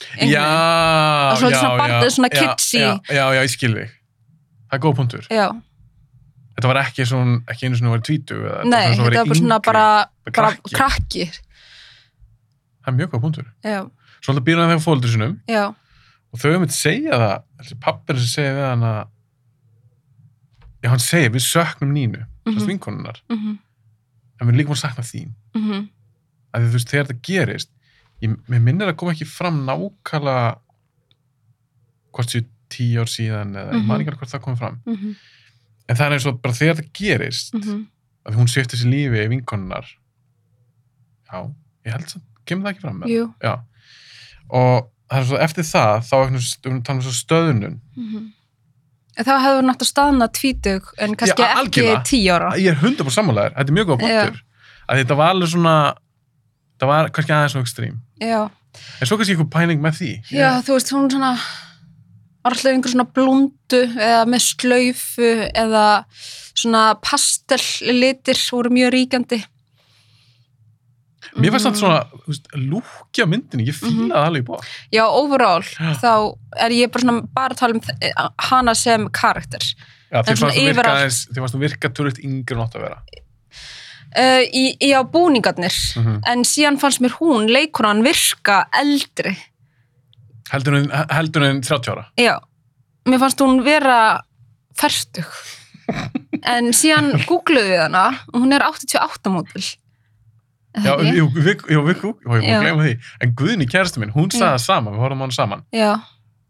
S1: já, já.
S2: Og svolítið svona barn-
S1: já,
S2: svona
S1: já,
S2: kitschy.
S1: Já, já, já, ég skil þig. Það er góð punktur.
S2: já,
S1: Þetta var ekki svona, ekki einu svona verið tvítu. Eða, þetta
S2: nei,
S1: var svona
S2: þetta
S1: verið
S2: er bara svona
S1: yngri.
S2: bara, bara
S1: krakki.
S2: krakki
S1: Það er mjög góð punktur.
S2: já,
S1: Svolítið býr hann þegar fólöldur sinum
S2: já,
S1: og þau hefum þetta segja það, þessi pappir sem segja við hann að já, hann segir, við söknum nínu,
S2: mhm,
S1: þessi vinkonunnar,
S2: mhm,
S1: en við erum líka búin að sakna þín.
S2: mhm
S1: að því þú veist, þegar þetta gerist ég, mér minnir að koma ekki fram nákvæmlega hvort séu tíu ár síðan eða ég
S2: Mhm.
S1: man ekki alveg hvort það komið fram
S2: mhm,
S1: en það er eins og bara þegar þetta gerist mm -hmm.
S2: mhm.
S1: að því hún sviptir sér lífi í vinkonunnar já, ég held samt, kemur það ekki fram með
S2: jú
S1: já, og það er svo eftir það þá er hún talað um svo stöðunum
S2: Mhm. En Þá hefur náttúrulega staðnað tvítug en kannski
S1: Já,
S2: ekki
S1: algjörlega.
S2: tíu ára.
S1: ég er hundar búin sammálaðir, þetta er mjög góða
S2: Já.
S1: punktur að þetta var alveg svona það var kannski aðeins og ekstrím
S2: já,
S1: en svo kannski einhver pæling með því
S2: já, þú veist, hún svona var alltaf einhver svona blúndu eða með slaufu eða svona pastellitir voru mjög ríkjandi
S1: mér
S2: Mm-hmm.
S1: fannst þetta svona þú veist, lúkja myndinni, ég fílaði
S2: Mhm.
S1: það alveg í bóð
S2: Já, overall,
S1: Já.
S2: þá er ég bara svona bara að tala um þ- hana sem karakter.
S1: já, þér
S2: En svona
S1: fannst þú virka
S2: yfirallt.
S1: aðeins þér fannst þú virka tölvöld yngri nátt að vera
S2: Uh, í, í á búningarnir,
S1: Mhm.
S2: en síðan fannst mér hún, leikunan, virka eldri.
S1: heldur en, heldur en 30 ára
S2: Já, mér fannst hún vera ferstug. en síðan googluðu við hana og hún er 88 mótil.
S1: já, jú, við, jú, við, jú, ég má
S2: Já.
S1: gleyma því en Guðni kærastu minn, hún saði
S2: Já.
S1: það saman við horfum á hana saman
S2: Já,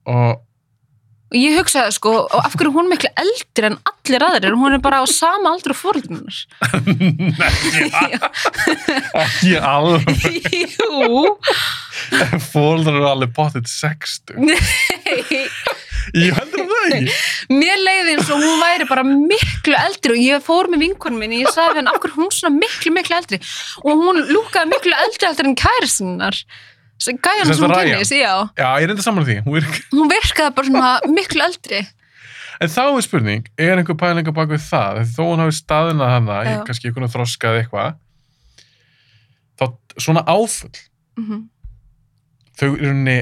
S1: og
S2: og ég hugsaði sko, og af hverju er hún miklu eldri en allir aðrir, hún er bara á sama aldri og fórhaldunar.
S1: ekki alveg
S2: Jú,
S1: fóldrar eru alveg bóttið 60
S2: nei.
S1: ég heldur það ekki
S2: Mér leiði eins og hún væri bara miklu eldri og ég fór með vinkonum minni og ég sagði við henni af hverju er hún svona miklu, miklu eldri og hún lúkaði miklu eldri eldri en kærisinnar gæjan
S1: Sem
S2: sem hún
S1: sagt Ryan?
S2: kynnis, já
S1: já, ég reynda saman því, hún virka
S2: hún virkaði bara svona miklu eldri
S1: En þá er spurning, er einhver pælinga bak við það? Þegar þó hún hafi staðinað hana,
S2: Já.
S1: ég, kannski einhvern þroskað eitthvað, þá svona áfull,
S2: Mhm,
S1: þau í rauninni,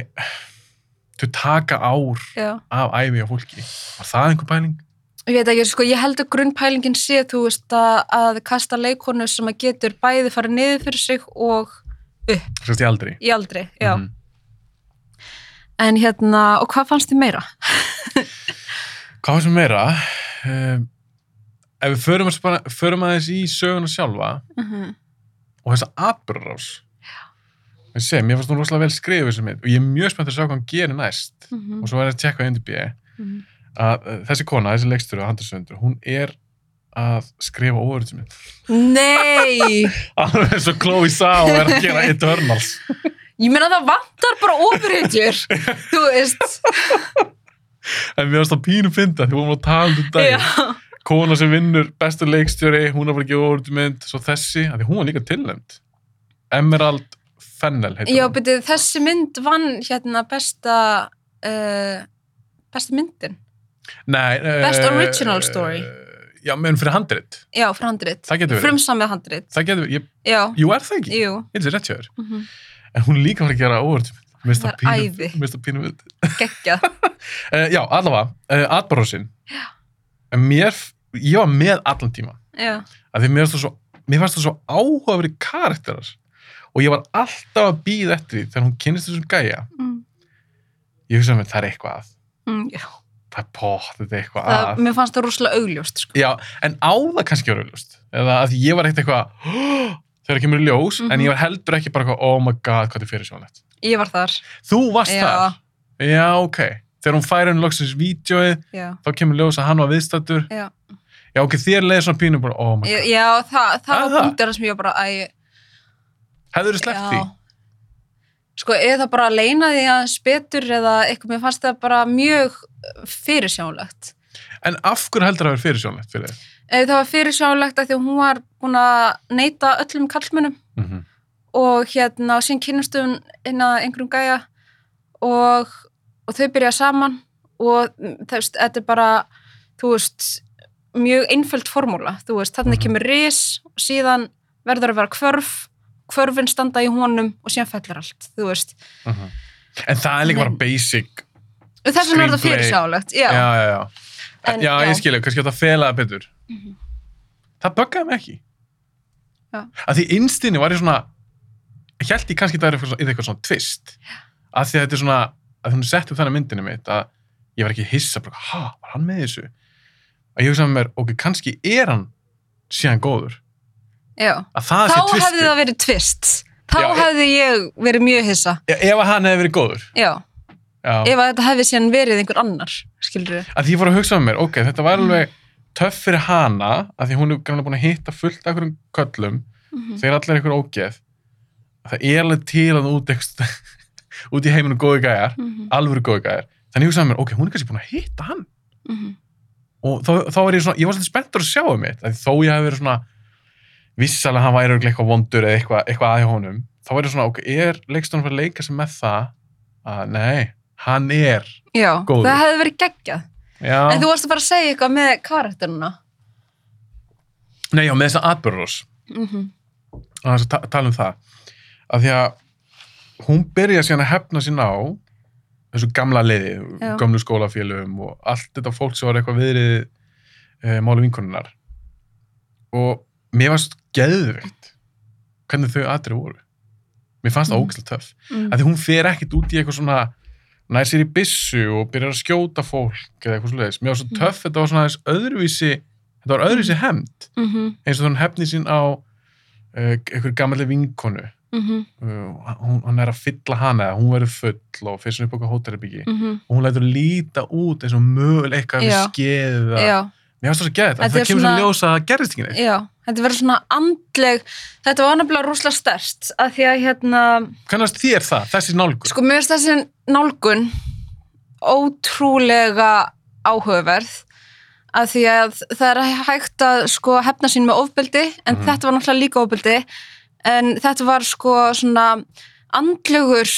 S1: þau taka ár
S2: já.
S1: af æfi á fólki. Var það einhver pæling?
S2: Ég veit ekki, sko, ég held að grunnpælingin sé þú veist að, að kasta leikonu sem að getur bæði fara niður fyrir sig og
S1: Sérst ég aldrei.
S2: í aldri, já
S1: Mhm.
S2: en hérna, og hvað fannst þið meira?
S1: Hvað var sem meira? Um, ef við förum, að spara, förum aðeins í söguna sjálfa
S2: Mm -hmm.
S1: og þessa atbyrðarás, ég segi, mér fannst hún rosalega vel skrifið sem mitt og ég er mjög spennt að sjá hvað hann gerir næst og svo er ég að tjekka á NDB. að uh, þessi kona, þessi leikstur og handarsöndur, hún er að skrifa óörutismynd.
S2: Nei!
S1: Alveg eins og Chloe Sao er að gera Eternals.
S2: Ég meina það vantar bara ofurhetjur, þú veist.
S1: En mér varst það pínu fynda því við vorum að tala um þetta
S2: Já,
S1: daginn. Kona sem vinnur bestu leikstjóri, hún er að fara að gefa óörutismynd, svo þessi, að því hún var líka tilnæmt. Emerald Fennel heitir
S2: já
S1: hún.
S2: byrju, þessi mynd vann hérna besta, uh, besta myndin.
S1: Nei, uh,
S2: Best original story.
S1: Já, menn fyrir handrit.
S2: Já, frá handrit.
S1: Það getur verið.
S2: Frumsamið handrit.
S1: Það getur verið. Ég,
S2: Já,
S1: jú, er það ekki?
S2: jú.
S1: Hildur rétt hjá þér.
S2: Mm -hmm.
S1: En hún er líka að fara að gera óörutismynd. Mér finnst það
S2: Það er
S1: pínu-
S2: æði.
S1: mér finnst það pínu mynd.
S2: Gekkja.
S1: Uh, já, allavega, uh, atbárásin. Já. Mér, ég var með allan tíma.
S2: Já,
S1: Af því mér fannst það svo, mér fannst það svo áhugaveri karakterar. Og ég var alltaf að býða eftir því þegar hún kynist þessum gæja.
S2: mm.
S1: Ég hugsaði með það er eitthvað að.
S2: Mm, já.
S1: Það er pott, þetta er eitthvað
S2: Það,
S1: að.
S2: mér fannst það rosalega augljóst, sko.
S1: Já, en á það kannski var auðlust. Eða að ég var ekkert eitthvað, "Hó!" þegar það kemur í ljós, en
S2: Mhm.
S1: ég var heldur ekki bara eitthvað, oh my god, hvað þetta er fyrir sjónlegt.
S2: Ég var þar.
S1: Þú varst
S2: Já,
S1: það. Já, ok. Þegar hún færi henni loksins vídjóið,
S2: já.
S1: þá kemur í ljós að hann var viðstættur.
S2: Já.
S1: Já, ok, þér leiði svona pínu bara, oh my god.
S2: Já, já, það, það
S1: Er
S2: var
S1: það?
S2: punktur sem ég var bara, æ,
S1: Hefur þú sleppt því?
S2: Sko, eða bara að leina því aðeins betur eða eitthvað, mér fannst það bara mjög fyrirsjánlegt.
S1: En af hverju heldur það að vera fyrirsjónlegt fyrir þér?
S2: Eh, Það var fyrirsjánlegt að því að hún var búin að neyta öllum kallmönnum
S1: Mm -hmm.
S2: og hérna, sín kynnumst hún inn að einhverjum gæja og, og þau byrja saman og mm, þú veist, þetta er bara, þú veist, mjög einföld formúla, þú veist, þarna
S1: Mhm.
S2: kemur ris og síðan verður að vera hvörf, hvörfin standa í honum og síðan fellur allt, þú veist.
S1: En það er líka
S2: Nei.
S1: bara basic.
S2: Þess vegna er þetta
S1: Screenplay.
S2: fyrirsjánlegt,
S1: Já,
S2: já.
S1: já, já. En,
S2: En,
S1: já,
S2: já.
S1: ég skilja, kannski átt að fela það betur.
S2: Mhm.
S1: Það böggaði mig ekki.
S2: Já.
S1: Að því innstinni var ég svona, held ég kannski það er eitthvað svona, yrði eitthvað svona tvist. Að því að þetta er svona, að hún setti upp þannig myndinu mitt að ég var ekki hissa, bara, ha, var hann með þessu? Að ég hugsaði með mér, ok, kannski er hann síðan góður.
S2: já.
S1: Að það
S2: þá
S1: sé tvistu.
S2: hefði það verið tvist þá
S1: Já, ég-
S2: hefði ég verið mjög hissa
S1: Ef að hann hefði verið góður.
S2: já,
S1: Já.
S2: ef að þetta hefði síðan verið einhver annar, skilur við
S1: að því ég fór að hugsa með mér, ok, þetta var alveg töff fyrir hana, að því hún er gamlega búin að hitta fullt af hverjum köllum
S2: Mhm.
S1: þegar allir einhver ógeð það er alveg til að út ekst, út í heiminu góði gæjar alvöru góði gæjar, þannig ég hugsaði með mér, ok, hún er kannski búin að hitta hann og þá, þá er ég svona, ég var svolítið spenntur að sjá um mitt, að þó ég hef verið svona vissalega hann væri örugglega eitthvað vondur eða eitthvað, eitthvað aðið honum þá væri svona, ok, er leikstofan fyrir að leika sem með það að nei, hann er
S2: já,
S1: Góður.
S2: það hefði verið geggjað
S1: já,
S2: en þú varst að fara að segja eitthvað með karakterina
S1: nei, já, með þess að atbyrðurós
S2: mm -hmm.
S1: að þess að ta- tala um það að því að hún byrja síðan að hefna sín á þessu gamla liði,
S2: Já.
S1: gamlu skólafélögum og allt þetta fólk sem var eitthvað viðrið e, máli vinkonunnar og mér varst geðveikt hvernig þau aðri voru mér fannst það
S2: Mm.
S1: mm. ógæslega töff að því hún fer ekkit út í eitthvað svona nær sér í byssu og byrjar að skjóta fólk eða eitthvað svoleiðis, mér var svo
S2: Mm.
S1: töff þetta var svona aðeins öðruvísi þetta var öðruvísi hefnd
S2: Mm -hmm.
S1: eins og þannig hefni sín á uh, einhver gammalli vinkonu
S2: Mm -hmm.
S1: uh, hún, hann er að fylla hana eða hún verður full og fyrst hún upp okkur hótelherbyggi og hún lætur líta út eins og möguleika við
S2: Já.
S1: skeið eða-
S2: já,
S1: mér finnst það svo geðið
S2: Þetta
S1: það
S2: er
S1: kemur svona...
S2: svona-
S1: svo ljós að það gerðist ekki neitt
S2: já þetta verður svona andleg þetta var nefnilega rúslega stærst að því að hérna
S1: kannast þér það, þessi nálgur
S2: Sko, mér finnst þessi nálgun ótrúlega áhugaverð af því að það er hægt að sko, hefna sín með ofbeldi en
S1: Mhm.
S2: þetta var náttúrulega líka ofbeldi en þetta var sko svona andlugur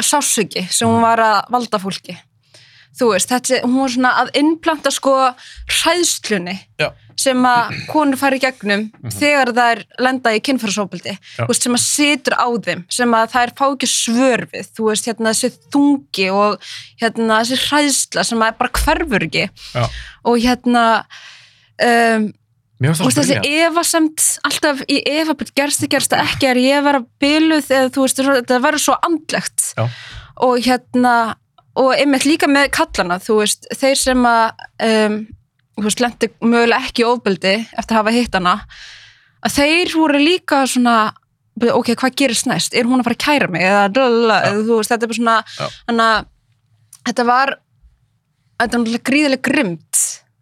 S2: sásöki sem hún var að valda fólki þú veist, þetta, hún var svona að innplanta sko hræðslunni
S1: Já.
S2: sem að konur fari í gegnum þegar þær lenda í kynfærsofbeldi
S1: Mhm. Já.
S2: þú veist, sem að situr á þeim sem að þær fá ekki svör við þú veist, hérna þessi þungi og hérna þessi hræðsla sem að bara hverfur ekki
S1: Já.
S2: og hérna um,
S1: mér finnst það
S2: þú veist,
S1: svo
S2: þessi
S1: brilja
S2: efasemt alltaf í efabit gerst þið gerst það ekki er ég að vera byluð eða þú veist, þetta verður svo andlegt
S1: Já.
S2: og hérna og einmitt líka með kallana þú veist, þeir sem að um, þú veist, lendi mögulega ekki í ofbeldi eftir að hafa hitt hana að þeir voru líka svona "Bíddu, ok, hvað gerist næst, er hún að fara að kæra mig eða, lalala,
S1: Já.
S2: eða þú veist, þetta er bara svona
S1: Já.
S2: þannig að þetta var þetta var náttúrulega gríðilega grimt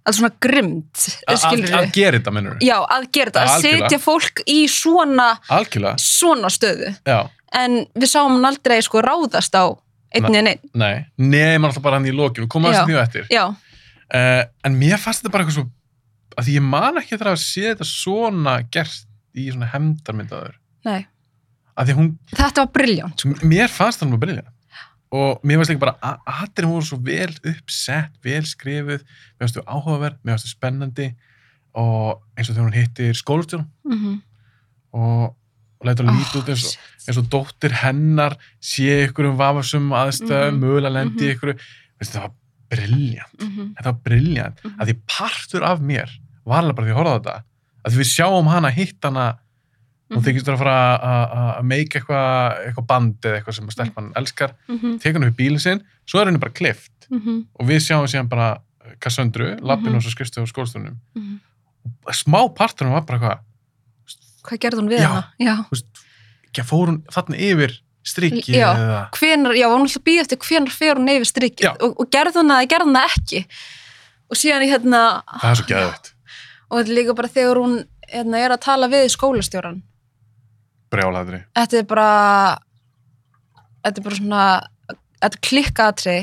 S2: að svona grimt, skilur
S1: að, að gera þetta mennur
S2: já, að gera
S1: Já,
S2: þetta, að
S1: algjörlega.
S2: setja fólk í svona,
S1: algjörlega,
S2: svona stöðu
S1: já,
S2: en við sáum hann aldrei sko ráðast á einn en einn,
S1: nei nei, maður alltaf bara hann í lokin, við komum aðeins
S2: Já.
S1: að því á eftir
S2: já,
S1: uh, en mér fannst þetta bara eitthvað svo að því ég man ekki eftir að sé þetta svona gert í svona hefndarmyndaður
S2: nei
S1: að því hún, sko,
S2: þetta var briljón,
S1: mér fannst það nú brilja og mér fannst líka bara að aðrið voru svo vel uppsett, vel skrifuð mér fannst þú áhugaverð, mér fannst þú spennandi og eins og þegar hún hittir skólastjón
S2: mm -hmm.
S1: og, og lætur að
S2: Ah,
S1: líta út eins og eins og dóttir hennar sé ykkur um vafasum aðstöðum,
S2: Mhm.
S1: mögulega lendi mm
S2: Mhm.
S1: -hmm. ykkur þetta var briljant þetta var briljant,
S2: Mhm.
S1: að því partur af mér var alveg bara því að horfa á þetta að því við sjáum hana hitt hana hún
S2: Mhm.
S1: þykist vera að fara að- að- að meika eitthvað eitthva band eða eitthvað sem að stelpan
S2: Mhm.
S1: elskar, tekur hann upp í bílinn sinn svo er henni bara klift og við sjáum síðan bara Kassandru, lappin
S2: Mhm.
S1: og svo skrifstu á skólstofnum smá parturinn var bara eitthvað
S2: hvað gerði hún við
S1: Já.
S2: hana já,
S1: þú veist, ekki að fór hún þarna yfir strikki
S2: Já.
S1: eða
S2: hvenar, já, hún ætla að býða eftir hvenar fer hún yfir
S1: Já.
S2: strikið og, og gerði hún það, gerði hún það ekki og síðan í hérna
S1: það er svo geðvægt,
S2: og þetta er líka bara þegar hún hérna, er að tala við skólastjóran
S1: brjálæðri
S2: þetta er bara þetta er bara svona þetta klikkaðatri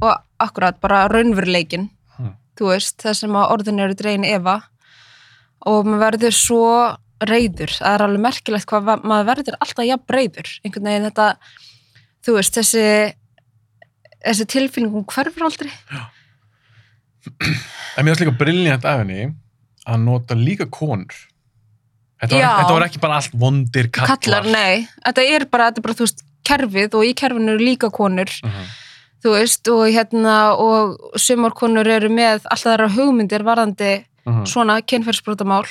S2: og akkurat bara raunveruleikin
S1: Hmm.
S2: þú veist, það sem að orðin eru dregin efa og maður verður svo reyður, það er alveg merkilegt hvað va- maður verður alltaf jafn reyður einhvern veginn þetta, þú veist þessi, þessi tilfinningum hverfur aldrei
S1: En mér finnst líka brilljant af henni að nota líka konur. Þetta var,
S2: Já.
S1: þetta var ekki bara allt vondir kallar.
S2: kallar, nei, þetta er bara, þetta er bara þú veist, kerfið og í kerfinu eru líka konur
S1: Mhm.
S2: þú veist, og hérna og sumarkonur eru með alltaf þeirra hugmyndir varðandi
S1: Mhm.
S2: svona kynferðsbrotamál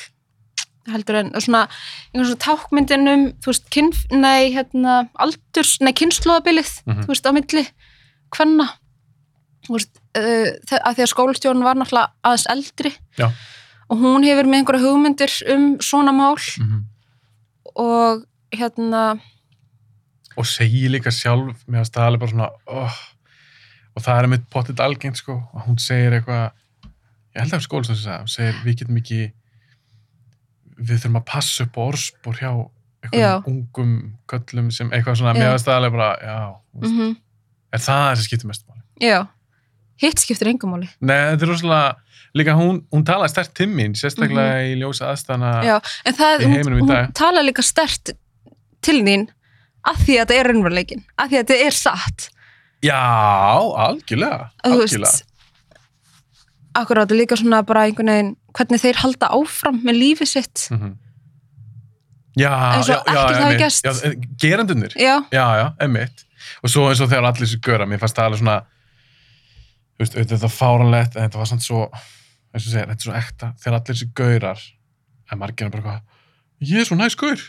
S2: heldur en, og svona, einhvern svona tákmyndin um, þú veist, kynf, nei, hérna aldurs, nei, kynnslóðabilið
S1: Mhm.
S2: þú veist, á milli, hvenna þú veist, uh, þe- að því að skólastjórn var náttúrulega aðeins eldri
S1: Já.
S2: og hún hefur með einhverja hugmyndir um svona mál
S1: Mhm.
S2: og hérna,
S1: Og segi líka sjálf, mér finnst það alveg bara svona, oh. og það er mitt pottit algengt, sko, og hún segir eitthvað, ég held að það skólast þess að hún segir, við getum ekki, við þurfum að passa upp á orðspor hjá
S2: Já.
S1: einhverjum ungum köllum sem eitthvað svona,
S2: Já.
S1: mér finnst það alveg bara, já,
S2: mhm
S1: er það það sem skiptir mest máli?
S2: Já, hitt skiptir engumáli
S1: Nei, þetta er rosalega, líka hún, hún talaði stert til mín, sérstaklega í ljósa aðstæðana.
S2: Mhm. Já, en það,
S1: Í
S2: hún,
S1: heiminum í
S2: hún
S1: dag.
S2: tala líka stert til þín að því að þetta er raunveruleikin, að því að þetta er satt
S1: Já, algjörlega,
S2: að þú
S1: algjörlega.
S2: veist akkurát og líka svona bara einhvern veginn hvernig þeir halda áfram með lífið sitt
S1: Mm Já,
S2: Eins
S1: já,
S2: og
S1: já,
S2: ekkert hafi
S1: einmitt.
S2: gerst.
S1: já, gerandunir,
S2: já,
S1: já, já, emmitt. Og svo eins og þegar allir þessu göra, mér fannst það alveg svona, þú veist, auðvitað þetta fáranlegt, en þetta var samt svo, eins og segir, þetta er svo ekta, þegar allir þessu görar, en margirna bara hvað, ég er svo næst gaur.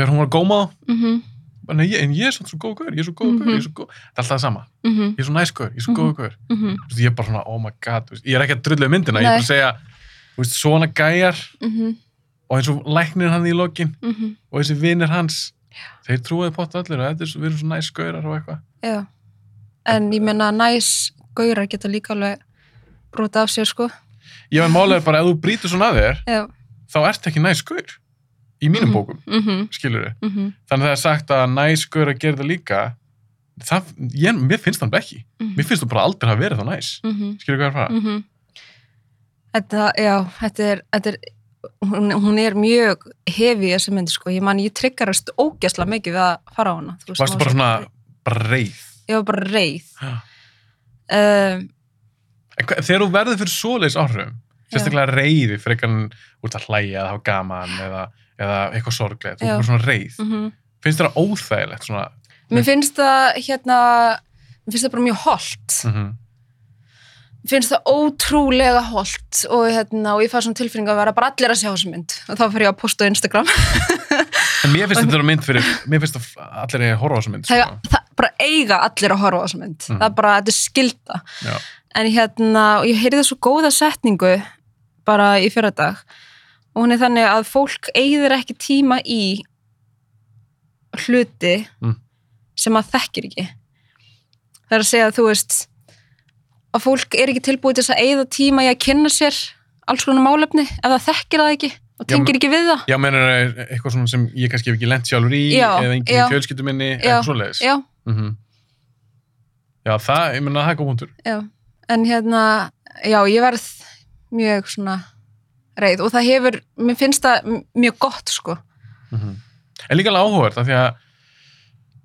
S1: Þegar hún var að góma þá,
S2: mhm mm
S1: bara, "Nei, ég- en ég er samt svo góð gaur, ég er svo góð gaur, ég er svo góð, þetta er alltaf það sama,
S2: mhm
S1: ég er svo næst gaur, ég er svo góð gaur.
S2: mhm
S1: Þú veist, ég er bara svona, oh my god, þú veist, ég er ekki að drullu um myndina, ég er
S2: Nei.
S1: bara að segja, þú veist, svona gæjar
S2: mhm
S1: og eins og læknir hann í lokin
S2: mhm
S1: og þessi vinnir hans, þeir trúiði pott allir og þetta er svo, við erum svo næs gaurar og eitthvað.
S2: já en ég meina næs gaurar geta líka alveg brota af sér sko
S1: Ég veit málega bara, ef þú brýtur svona að þér,
S2: já,
S1: þá ert ekki næs gaur í mínum bókum,
S2: mhm
S1: skilur þið.
S2: mhm
S1: Þannig að það er sagt að næs gaur að gera það líka, það, ég, mér finnst það ekki. Mér finnst þú bara aldrei að vera þá næs.
S2: mhm
S1: Skilur hvað ég er að fara?
S2: Mhm. Þetta, já, þetta er, þetta er hún, hún er mjög hefi í þessu myndi, sko, ég man, ég tryggarast ógæsla mikið við að fara á hana þú veist,
S1: Varstu
S2: maður
S1: bara svona
S2: svo-
S1: breið.
S2: ég var bara reið
S1: Já.
S2: um,
S1: En hva- Þegar þú verður fyrir svoleiðis áhrifum, sérstaklega reyði frekar en út að hlæja eða hafa gaman eða, eða eitthvað sorglega, þú
S2: Já.
S1: verður svona reyð.
S2: mm
S1: Finnst þér það óþægilegt svona?
S2: mér finnst það hérna, mér finnst það bara mjög holt
S1: Mm -hmm.
S2: mér finnst það ótrúlega holt og hérna, og ég fæði svona tilfinning að vera bara allir að sjá þessu mynd og þá fer ég að posta á Instagram
S1: En mér finnst þetta vera mynd fyrir, mér finnst það allir að horfa á þessu mynd.
S2: það,
S1: Sko.
S2: það bara eiga allir að horfa á þessu mynd það er bara, þetta er skilda
S1: Mhm. Já.
S2: en hérna, og ég heyrði svo góða setningu bara í fyrradag og hún er þannig að fólk eigðir ekki tíma í hluti
S1: Mm.
S2: sem maður þekkir ekki það er að segja að þú veist að fólk er ekki tilbúið til þess að eigða tíma í að kynna sér alls konar málefni ef það þekkir það ekki og
S1: Já,
S2: tengir ekki við það
S1: Já, menn er eitthvað svona sem ég kannski hef ekki lent sjálfur í
S2: Já,
S1: eða enginn
S2: já.
S1: í fjölskyldum minni,
S2: Já,
S1: eitthvað svoleiðis.
S2: já,
S1: Mm Já, það, ég menna, það er góð hundur.
S2: Já, en hérna, já, ég verð mjög svona reið og það hefur, mér finnst það m- mjög gott, sko.
S1: Mhm. En líka alveg áhugavert af því að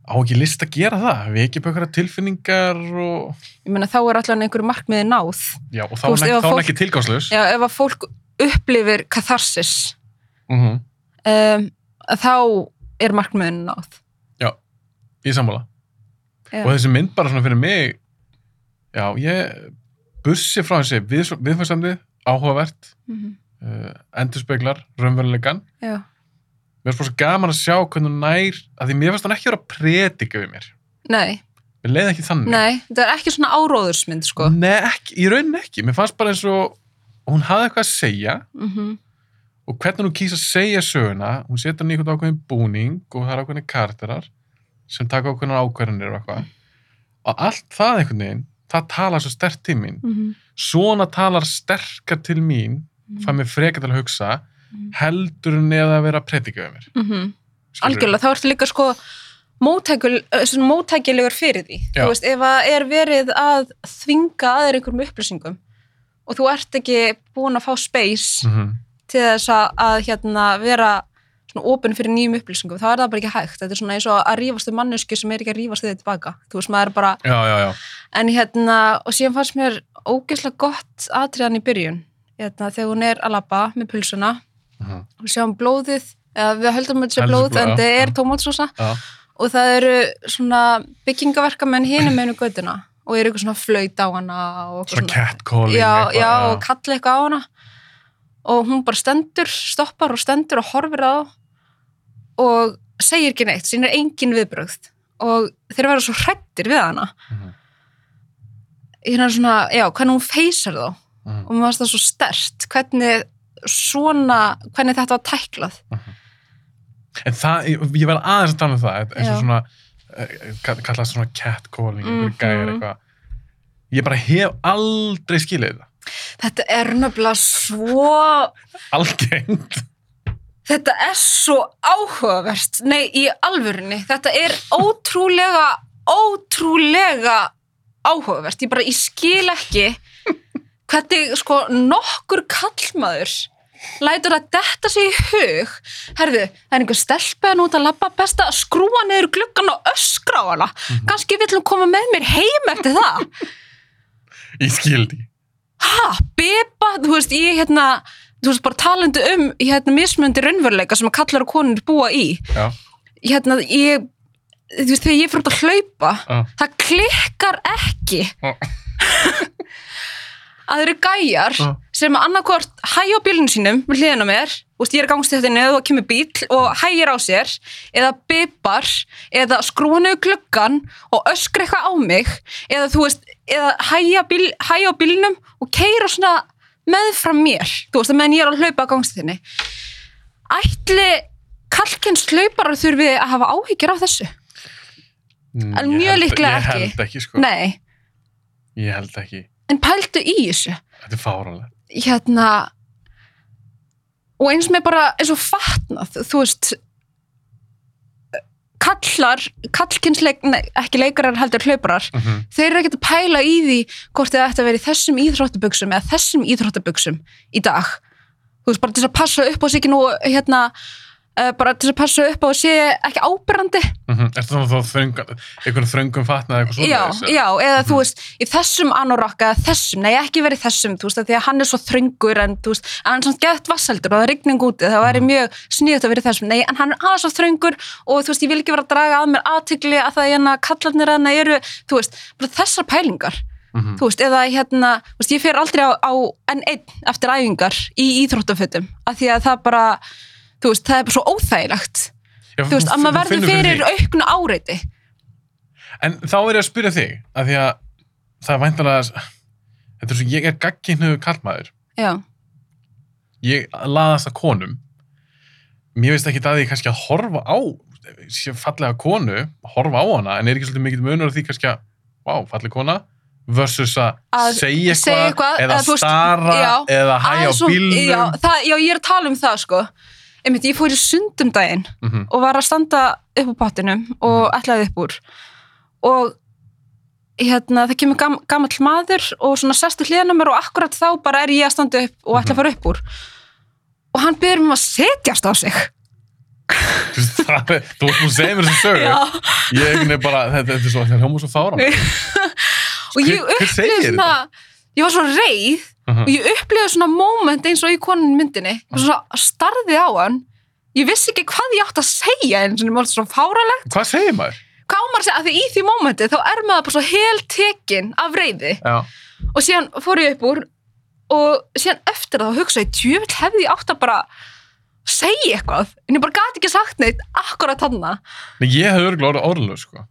S1: á ekki list að gera það, við ekki eitthvað tilfinningar og,
S2: Ég meina, þá er allan einhverju markmiði náð.
S1: já, og þá
S2: Þú
S1: er
S2: veist,
S1: nek-
S2: ef að
S1: þá er
S2: fólk-
S1: ekki tilgáslaus.
S2: Já, ef að fólk upplifir katharsis,
S1: Mm
S2: um, þá er markmiðinu náð.
S1: í sammála
S2: Já.
S1: og þessi mynd bara svona fyrir mig já, ég bursi frá þessi við, viðfæðsamni, áhugavert
S2: Mhm.
S1: uh, endurspeglar, raunverulegan
S2: Já,
S1: mér er bara svo gaman að sjá hvernig hún nær að því mér fannst hann ekki vera að predika við mér
S2: nei,
S1: mér leiði ekki þannig
S2: nei, þetta er ekki svona áróðursmynd, sko.
S1: Nei, ekki, í rauninni ekki, mér fannst bara eins og hún hafði eitthvað að segja
S2: Mm
S1: og hvernig hún kýs að segja söguna hún setur hann í einhvern ákveðin búning og það er ákveðin karakterar sem taka ákveðin ákveðinir og eitthvað og allt það einhvern veginn, það tala svo stert til mín svona talar sterkar til mín
S2: Mm.
S1: fær mér frekar til að hugsa
S2: Mhm.
S1: heldur en eða að vera að predika við mér skilurðu?
S2: algjörlega, þá ertu líka sko móttækul- eh, svona móttækilegur fyrir því
S1: Já.
S2: þú veist, ef að er verið að þvinga aðeir einhverjum upplýsingum og þú ert ekki búin að fá space
S1: Mhm.
S2: til þess að, að hérna, vera svona opinn fyrir nýjum upplýsingum þá er það bara ekki hægt, þetta er svona eins og að rífast um mannesku sem er ekki að rífast þið tilbaka þú veist, maður er bara,
S1: já, já, já,
S2: en hérna og síðan fannst mér ógeðslega gott atriðan í byrjun, hérna, þegar hún er að labba með pulsuna
S1: Mhm.
S2: og sjáum blóðið, eða við höldum að þetta sé
S1: Heldur
S2: blóð,
S1: blóð,
S2: en
S1: já,
S2: þetta
S1: já.
S2: er tómatsósa
S1: já.
S2: og það eru svona byggingaverkamenn hinum einu göttuna og eru eitthvað svona flaut á hana og eitthvað
S1: svona catcalling
S2: já,
S1: eitthvað,
S2: já, og kalla eitthvað á hana og hún bara stendur, stoppar og stendur og horfir á og segir ekki neitt, sín er engin viðbrögð og þeir verða svo hrættir við hana
S1: Mhm.
S2: hérna svona, já, hvernig hún feysar þá
S1: Mhm.
S2: og mér fannst það svo stert hvernig svona, hvernig þetta var tæklað
S1: en það, ég, ég verð aðeins að tala um það eins og
S2: Já.
S1: svona eh, ka- kallast svona catcalling mm
S2: Mhm.
S1: gæjar eitthvað ég bara hef aldrei skilið það
S2: þetta er nefnilega svo
S1: algengt
S2: Þetta er svo áhugavert, nei í alvörunni, þetta er ótrúlega, ótrúlega áhugavert. Ég bara, ég skil ekki hvernig sko nokkur kallmaður lætur að detta sig í hug. Herðu, það er einhver stelpaðan út að labba best að skrúa niður gluggan og öskra á hana. Mm -hmm. Ganski vill hún koma með mér heim eftir það.
S1: Ég skildi.
S2: ha, beba, þú veist, ég hérna, þú veist, bara talandi um hérna mismöndi raunveruleika sem að kallar og konur búa í,
S1: Já.
S2: hérna, ég, þú veist, þegar ég fyrir út að hlaupa,
S1: Já.
S2: það klikkar ekki
S1: Já.
S2: að þeir eru gæjar
S1: Já.
S2: sem annarkvort hæja á bílunum sínum við hliðina á mér, þú veist, ég er gangst þetta neðu og kemur bíl og hægir á sér eða bibar, eða skrúa niður klukkan og öskra eitthvað á mig eða þú veist, eða hæja, bíl, hæja á bílunum og keira svona meðfram mér, þú veist, að meðan ég er að hlaupa á gangst þinni ætli kalkins hlauparar þurfi að hafa áhyggjur af þessu?
S1: Mm,
S2: En
S1: ég
S2: mjög
S1: held-
S2: líklega ekki.
S1: Ég held ekki, sko.
S2: Nei,
S1: Ég held ekki.
S2: en pældu í þessu
S1: Þetta er fáranlega.
S2: hérna og eins með bara eins og fatnað, þú veist kallar kallkynsleik, nei, ekki leikarar heldur hlauparar,
S1: Mm
S2: þeir eru ekkert að pæla í því hvort þið ætti að vera í þessum íþróttabuxum eða þessum íþróttabuxum í dag þú veist, bara til þess að passa upp á sig ekki nú, hérna uh, bara til þess að passa upp á að sé ekki ábyrrandi
S1: Mm -hmm. Ertu þannig að þá þröng, einhvern þröngum fatnaði eitthvað svona?
S2: já, já, eða þú veist, í þessum anorokka, eða þessum, nei ekki verið þessum, þú veist, af því að hann er svo þröngur en þú veist, en hann er samt gett vassaldur og það er rigning úti, það væri mjög sniðut að verið þessum, nei, en hann er aðeins svo þröngur og þú veist, ég vil ekki vera að draga að mér aðtigli að það hérna kallarnir að það eru, þú veist, bara þessar pælingar,
S1: Mm -hmm.
S2: þú veist, eða hérna, þú veist, ég fer aldrei á, á N1 eftir æfingar í íþróttafötum, af því að það bara, þú veist, það er bara svo óþægilegt,
S1: Já,
S2: þú veist, að maður verður
S1: finnur
S2: fyrir
S1: því.
S2: auknu áreiti.
S1: En þá er ég að spyrja þig, að því að það er væntanlega, þetta er svo, ég er gagginnu kallmaður.
S2: Já,
S1: Ég laðast að konum. Mér veist ekki að því kannski að horfa á, sé fallega konu, horfa á hana, en er ekki svolítið mikið munur á því kannski að, vá, falleg kona, versus að
S2: Að
S1: segja eitthvað,
S2: segja eitthvað,
S1: eða
S2: eða þú veist,
S1: stara,
S2: já,
S1: eða hæja á
S2: Aðeins svona-
S1: bílnum.
S2: já, það, já, ég er að tala um það sko Einmitt, ég fór í sundum daginn
S1: Mhm.
S2: og var að standa upp á pottinum og ætlaði upp úr og hérna, það kemur gam, gamall maður og svona sestu hliðanum mér og akkurat þá bara er ég að standa upp og
S1: Mhm.
S2: ætla að fara upp úr og hann byrður mér um að setjast á sig
S1: Þú veist, það er- þú veist, þú segir mér þessu sögu. Ég einhvern veginn bara, þetta, þetta er svo, þetta er hljóma svo fáran.
S2: og ég
S1: Hver- hver segir
S2: upplifði svona ég var svo reið
S1: Mhm.
S2: og ég upplifði svona moment eins og í konun myndinni og svo starði á hann ég vissi ekki hvað ég átt að segja eins og mér var svo fáralegt
S1: Hvað segir maður?
S2: hvað á maður að segja, af því í því momenti þá er maður bara svo heltekinn af reiði
S1: Já.
S2: og síðan fór ég upp úr og síðan eftir það þá hugsaði ég tjöfull hefði ég átt að bara segja eitthvað, en ég bara gati ekki sagt neitt akkurat þarna
S1: Nei, ég hefði örgulega orðið orðlöf, sko.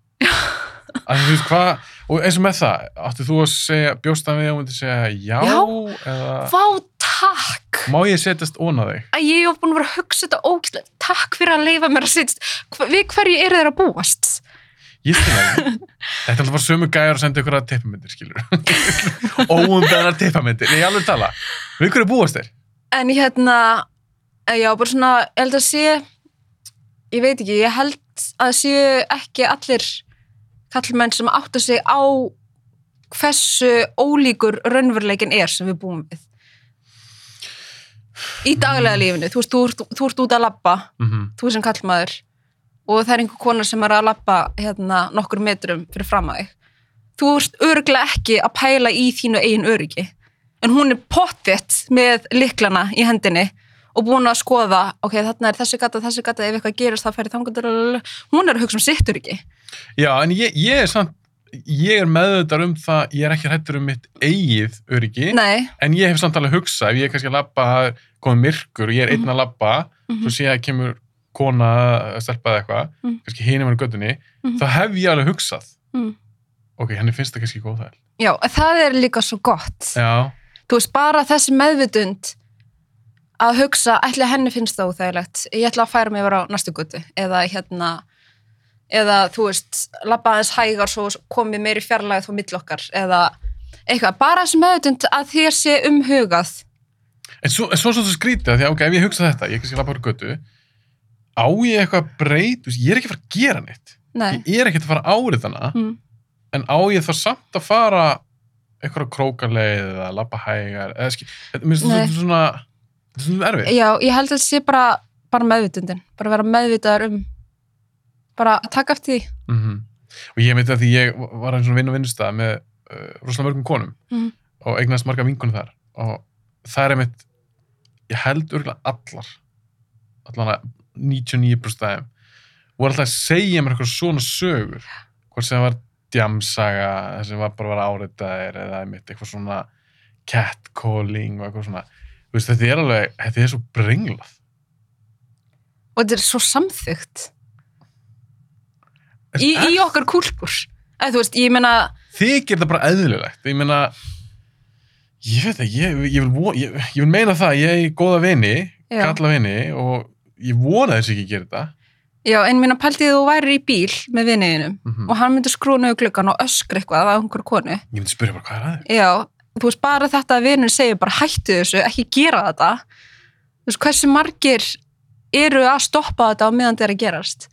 S1: Að þú veist hvað, og eins og með það, áttu þú að segja, bjóst það við og myndi segja já,
S2: Já.
S1: eða
S2: Vá, takk!
S1: má ég setjast óna þig?
S2: Að ég hef búin að vera að hugsa þetta ógæslega Takk fyrir að leifa mér að sitst Við hverju eru þeir að búast?
S1: Ég skil það ekki. Þetta er alltaf bara sömu gæjar að senda ykkur að teppamyndir, skilur. Óumbeðnar teppamyndir. Nei, ég alveg tala. Við hverju búast þér?
S2: En ég hérna, eh, já, bara svona, ég held að sé, ég veit ekki, ég held að séu ekki allir kallmenn sem átta sig á hversu ólíkur raunveruleikin er sem við búum við. Í daglega lífinu, þú veist, þú, ert- þú ert út að labba,
S1: Mm
S2: þú sem kallmaður, og það er einhver kona sem er að labba hérna nokkur metrum fyrir fram að þig. Þú ert örglega ekki að pæla í þínu eigin öryggi. En hún er pottitt með liklana í hendinni og búin að skoða, ok, þarna er þessi gata, þessi gata, ef eitthvað gerist þá færi þangandur, hún er að hugsa um sitt öryggi.
S1: Já, en ég, ég er samt, ég er meðvitað um það, ég er ekki hættur um mitt eigið öryggi.
S2: Nei,
S1: en ég hef samt alveg að hugsa ef ég er kannski að labba, það er komið myrkur og ég er einn að labba,
S2: Mhm.
S1: svo sé ég að kemur kona að stelpa eða eitthvað
S2: Mhm.
S1: kannski hinum hann í göttunni,
S2: Mhm.
S1: þá hef ég alveg hugsað
S2: Mhm.
S1: ok, henni finnst það kannski góð þær
S2: já, það er líka svo gott.
S1: já,
S2: Þú veist, bara þessi meðvitund að hugsa, ætli henni finnst það óþægilegt, ég ætla að færa mig yfir á næstu gutu eða hérna, eða þú veist, labba aðeins hægar svo komið meiri fjarlægð og mill okkar eða eitthvað, bara þessi meðvitund að þér sé umhugað.
S1: en svo en svo, svo, svo skrítið af því að ok, ef ég hugsa þetta, ég er kannski að labba úr göttu á ég eitthvað breyt, þú veist, ég er ekki að fara að gera neitt
S2: Nei.
S1: ég er ekki að fara að árið hana
S2: Mm.
S1: en á ég það samt að fara einhverja krókaleið eða labba hægar eða skil, þetta minnst
S2: Nei.
S1: þetta svolítið svona þetta er svona erfið,
S2: Já, ég held að þetta sé bara, bara meðvitundin, bara vera meðvitaðar um bara að taka eftir því
S1: mm og ég veit að því ég var eins og vinn og vinnustæð með uh, rosalega mörgum konum
S2: Mhm.
S1: og eignast marga vinkunum þar og það er einmitt ég held örgulega allar allan að 99% aðeim voru alltaf að segja mér eitthvað svona sögur hvort sem það var djamsaga það sem var bara að vera áritaðir eða einmitt eitthvað svona catcalling og eitthvað svona Þú veist, þetta er alveg, þetta er svo brenglað
S2: og þetta er svo samþygt í, í okkar kúlpur eða þú veist, ég meina
S1: þykir það bara eðlilegt ég meina ég veit ekki, ég, ég, vil, vo- ég, ég vil meina það ég er góða vini,
S2: Já.
S1: kalla vini og ég vona þess ekki að gera þetta
S2: já, en minna pæltið þú væri í bíl með vinniðinum
S1: Mhm.
S2: og hann myndi skrúna yfir gluggan og öskra eitthvað að einhver konu
S1: ég myndi spyrja bara hvað er aðeins
S2: já, þú veist, bara þetta að vinnin segir bara hættu þessu, ekki gera þetta þú veist, hversu margir eru að stoppa þetta á meðan þetta er að gerast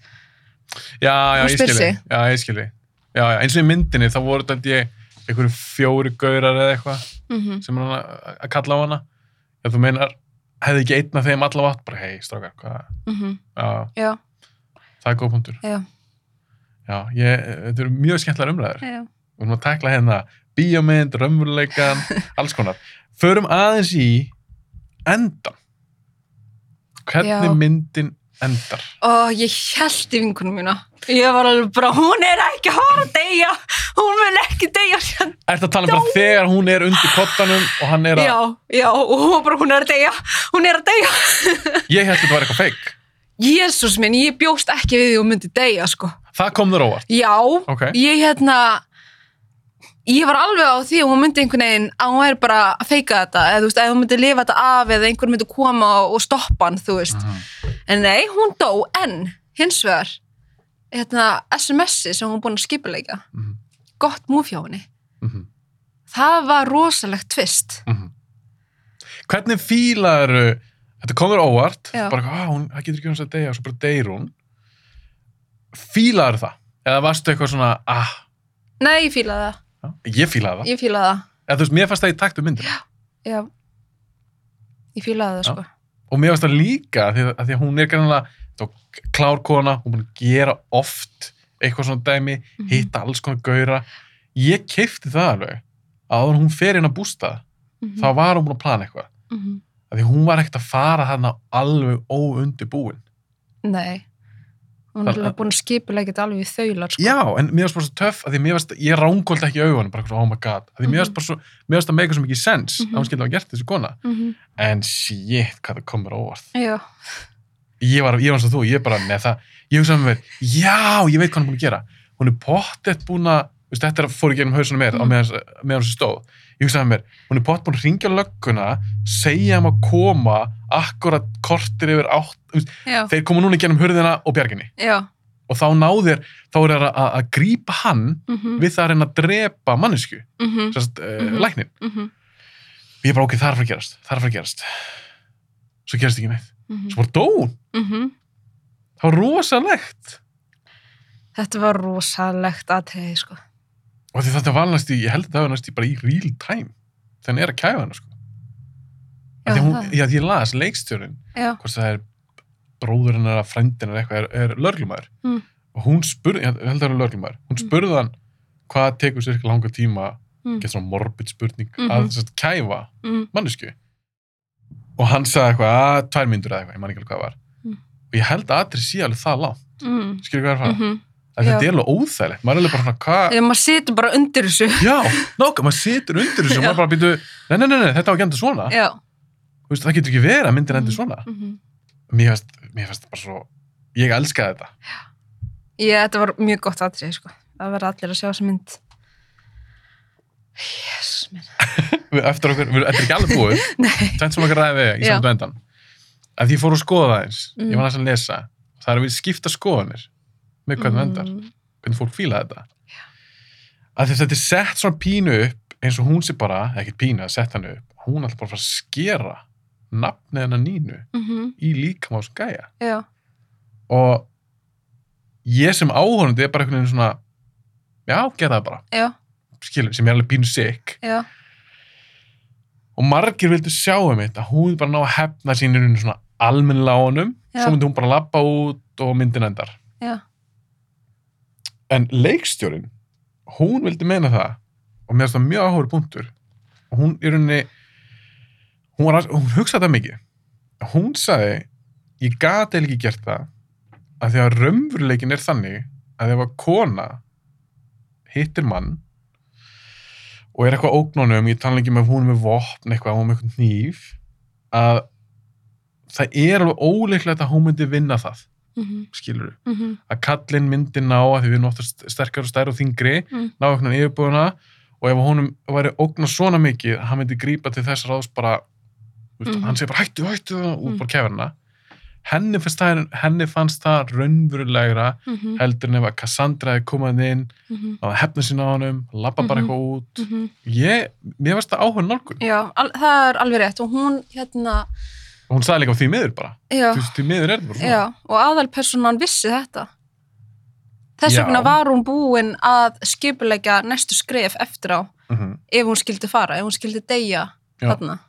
S1: já, já,
S2: Hún
S1: ég
S2: spyr
S1: skilji,
S2: sig.
S1: já, ég skilji já, já, eins og í myndinni þá voru þetta ég einhverju fjóri gaurar eða eitthvað
S2: mm -hmm.
S1: sem hann að að kalla á hana ef þú meinar, hefði ekki einn af þeim allavega átt, bara hei, strákar, hvað
S2: mhm.
S1: já,
S2: já,
S1: það er góð punktur
S2: Já.
S1: já, ég, þetta eru mjög skemmtlar umræður
S2: já,
S1: við erum að tekla hérna bíómynd, raunveruleikan, alls konar förum aðeins í endan hvernig
S2: Já.
S1: myndin endar
S2: og ég held í vinkunum mína ég var alveg bara, hún er ekki að fara að deyja, hún vil ekki deyja sjálf.
S1: Ertu að tala um bara þegar hún er undir kottanum og hann er að,
S2: já, já, og hún var bara, hún er að deyja hún er að deyja
S1: ég held að þetta var eitthvað feik
S2: Jésús minn, ég bjóst ekki við því hún myndi deyja, sko
S1: það kom þér óvart,
S2: já,
S1: ok
S2: ég hérna ég var alveg á því að hún myndi einhvern veginn að hún væri bara að feika þetta eða þú veist, að hún myndi lifa þetta af eða einhver myndi koma og- og stoppa hann, þú veist
S1: Mhm.
S2: en nei, hún dó, en hins vegar hérna, SMS-i sem hún er búin að skipuleika
S1: Mhm.
S2: gott múf hjá henni
S1: Mhm.
S2: það var rosalegt tvist
S1: Mhm. hvernig fílar þetta kom þér óvart
S2: Já.
S1: bara, "Ah, hún, það getur ekki hún að deyja og svo bara deyr hún fílar það eða varstu eitthvað svona, ah,
S2: nei, ég fílaði það,
S1: ég fílaði það
S2: ég fílaði það
S1: eða þú veist, mér fannst það í takt við myndina
S2: já ég fílaði það,
S1: Já.
S2: sko
S1: og mér finnst það líka að því að, af því að hún er grannlega klár kona, hún er búin að gera oft eitthvað svona dæmi,
S2: Mhm.
S1: hitta alls konar gaura ég keipti það alveg að áður en hún fer inn að bústa þá var hún búin að plana eitthvað
S2: Mhm.
S1: af því hún var ekkert að fara þarna alveg óundibúin
S2: Nei, hún
S1: Það-
S2: er alveg búin að skipulega þetta alveg í þaular sko.
S1: já, en mér finnst bara svo töff af því mér finnst, ég rángóldi ekki í augunum bara svona, oh my god, af því mér finnst bara svo mér finnst það meika svo mikið sens
S2: Mhm.
S1: að hún skildi að hafa gert þessu kona en shit, hvað það komur óvart
S2: Já,
S1: ég var, ég var eins og þú, ég bara, neða það ég hugsaði með mér, já, ég veit hvað hann er búin að gera hún er pottett búin að þú veist, þetta er að fóru gegnum hausunum mér á meðan meðan þessu stóð, ég hugsaði með mér hún er pottett búin að ringja lögguna segja hann að koma akkurat kortir yfir átt, þú veist,
S2: já,
S1: þeir koma núna gegnum hurðina og bjarginni
S2: já.
S1: og þá náðir, þá er það að, að grípa hann
S2: mhm,
S1: við það að reyna að drepa mannesku,
S2: mhm,
S1: sérst, uh,
S2: Mhm.
S1: læknin
S2: mhm,
S1: og ég bara, ok, það er að fara að gerast, það er að fara að gerast svo gerast ekki neitt,
S2: mhm,
S1: svo bara dó hún.
S2: mhm.
S1: það var rosalegt
S2: Þetta var rosalegt atriði sko.
S1: og því þetta var næst í, ég held að þetta var næst í bara í real time þegar hann er að kæfa hana sko já,
S2: Já,
S1: því hún,
S2: það.
S1: já, því ég las leikstjórin
S2: Já,
S1: hvort það er bróður hennar að frendin er eitthvað, er, er lörglumæður
S2: Mm.
S1: og hún spurði, ég held að það er lörglumæður hún
S2: Mm.
S1: spurði hann hvað tekur sér langa tíma
S2: Mm.
S1: getur svona morbid spurning
S2: Mhm.
S1: að þess að kæfa
S2: mm,
S1: mannesku og hann sagði eitthvað, að tvær myndur eða eitthvað, ég man ekki alveg hvað það var
S2: Mm.
S1: og ég held að atrið sé alveg það lág
S2: mhm,
S1: skilur hvað er að fara, mm
S2: mhm.
S1: þetta
S2: Já.
S1: er alveg óþægilegt maður er alveg bara svona, hvað
S2: Þegar maður situr bara undir þessu.
S1: Já, nákvæm, maður situr undir þessu og maður bara býtu, nei, nei, nei, nei, þetta á ekki endur svona
S2: Já.
S1: Þú veist, það getur ekki verið að myndin endur svona
S2: mhm.
S1: Mér finnst, mér finnst bara svo, ég elskaði þetta
S2: Ég, þetta var mjög gott atriði sko. Það verða allir að sjá þessa mynd. Jésus minn.
S1: Við- Eftir okkur, við- þetta er ekki alveg búið
S2: Nei.
S1: Tvent sem okkar ræði í
S2: Já.
S1: samt vendan Af því ég fór að skoða það eins Ég
S2: Mm.
S1: var næst að lesa Það er að við skipta skoðanir með hvernig það endar,
S2: Mhm,
S1: hvernig fólk fíla þetta Af því að þetta er sett svona pínu upp eins og hún sé bara, ekkert pínu að setja hann upp Hún ætlar bara að fara að skera nafnið hennar nínu
S2: mhm,
S1: í líkamás gæja
S2: Já,
S1: og ég sem áhorandi er bara einhvern veginn svona já, gera það bara,
S2: já,
S1: skilur, sem er alveg bínu sick
S2: já,
S1: og margir vildu sjá um þetta hún bara ná að hefna sínir svona almennilega á honum,
S2: Já.
S1: svo myndi hún bara labba út og myndin endar
S2: já,
S1: en leikstjórin, hún vildi meina það og mér finnst það mjög áhugur punktur og hún í rauninni hún, var, að- hún hugsaði það mikið hún sagði ég gati ekki gert það að því að raunveruleikin er þannig að ef að kona hittir mann og er eitthvað ógnunum, ég tala ekki með hún er með vopn eitthvað, hún er með eitthvað nýf að það er alveg óleiklegt að hún myndi vinna það
S2: mhm,
S1: skilur
S2: mhm,
S1: að kallinn myndi ná að því við erum oftast sterkar og stærri og þingri
S2: Mm.
S1: ná eitthvað yfirbúðuna og ef honum væri ógna svona mikið að hann myndi grípa til þess ráðs bara þú veist,
S2: Mhm.
S1: hann segir bara hættu, hættu og
S2: Mm.
S1: bara kefirna henni, fannst það- henni fannst það raunverulegra
S2: mhm,
S1: heldur en ef að Cassandra hefði komað inn
S2: mhm,
S1: náða hefna sína á honum, labba bara
S2: Mhm.
S1: eitthvað út
S2: mhm.
S1: ég, mér varst það áhuga nálgun
S2: Já, al, það er alveg rétt og hún hérna,
S1: hún sagði líka á því miður bara
S2: já,
S1: þú veist, því miður er það bara svona.
S2: já, og aðalpersonan vissi þetta. Þess
S1: Já.
S2: vegna var hún búin að skipulegja næstu skref eftir á
S1: Mhm.
S2: ef hún skildi fara, ef hún skildi deyja
S1: Já.
S2: þarna.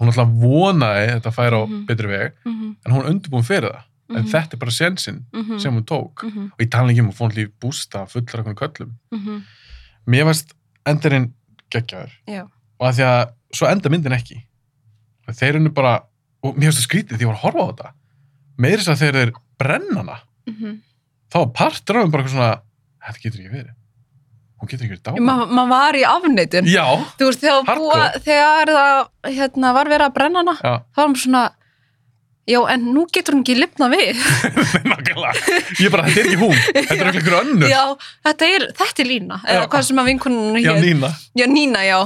S1: hún alltaf vonaði að þetta færa á
S2: Mhm.
S1: betri veg
S2: Mhm,
S1: en hún er undirbúin fyrir það en
S2: mhm,
S1: þetta er bara sensinn
S2: mhm,
S1: sem hún tók
S2: mhm,
S1: og ég tala ekki um að fóna líf bústa fullar okkur köllum
S2: mhm,
S1: mér varst endarinn geggjaður
S2: Já.
S1: og að því að svo enda myndin ekki Og þeir eru bara og mér finnst það skrítið því ég var að horfa á þetta meira þess að þegar þeir brenna hana
S2: mhm.
S1: þá var partur af þeim bara eitthvað svona þetta getur ekki verið hún getur ekki verið dáin
S2: Ma- Maður var í afneitun.
S1: já,
S2: Þú veist, þegar, búa,
S1: Hardcore.
S2: þegar það hérna, var verið að brenna hana,
S1: já,
S2: þá var hún svona, já, en nú getur hún ekki lifna við.
S1: nákvæmlega ég bara, þetta er ekki hún, þetta er ekki einhver önnur
S2: já, þetta er, þetta er Lína,
S1: Já.
S2: eða hvað sem að vinkunum
S1: já, Nína
S2: Já, Nína, já.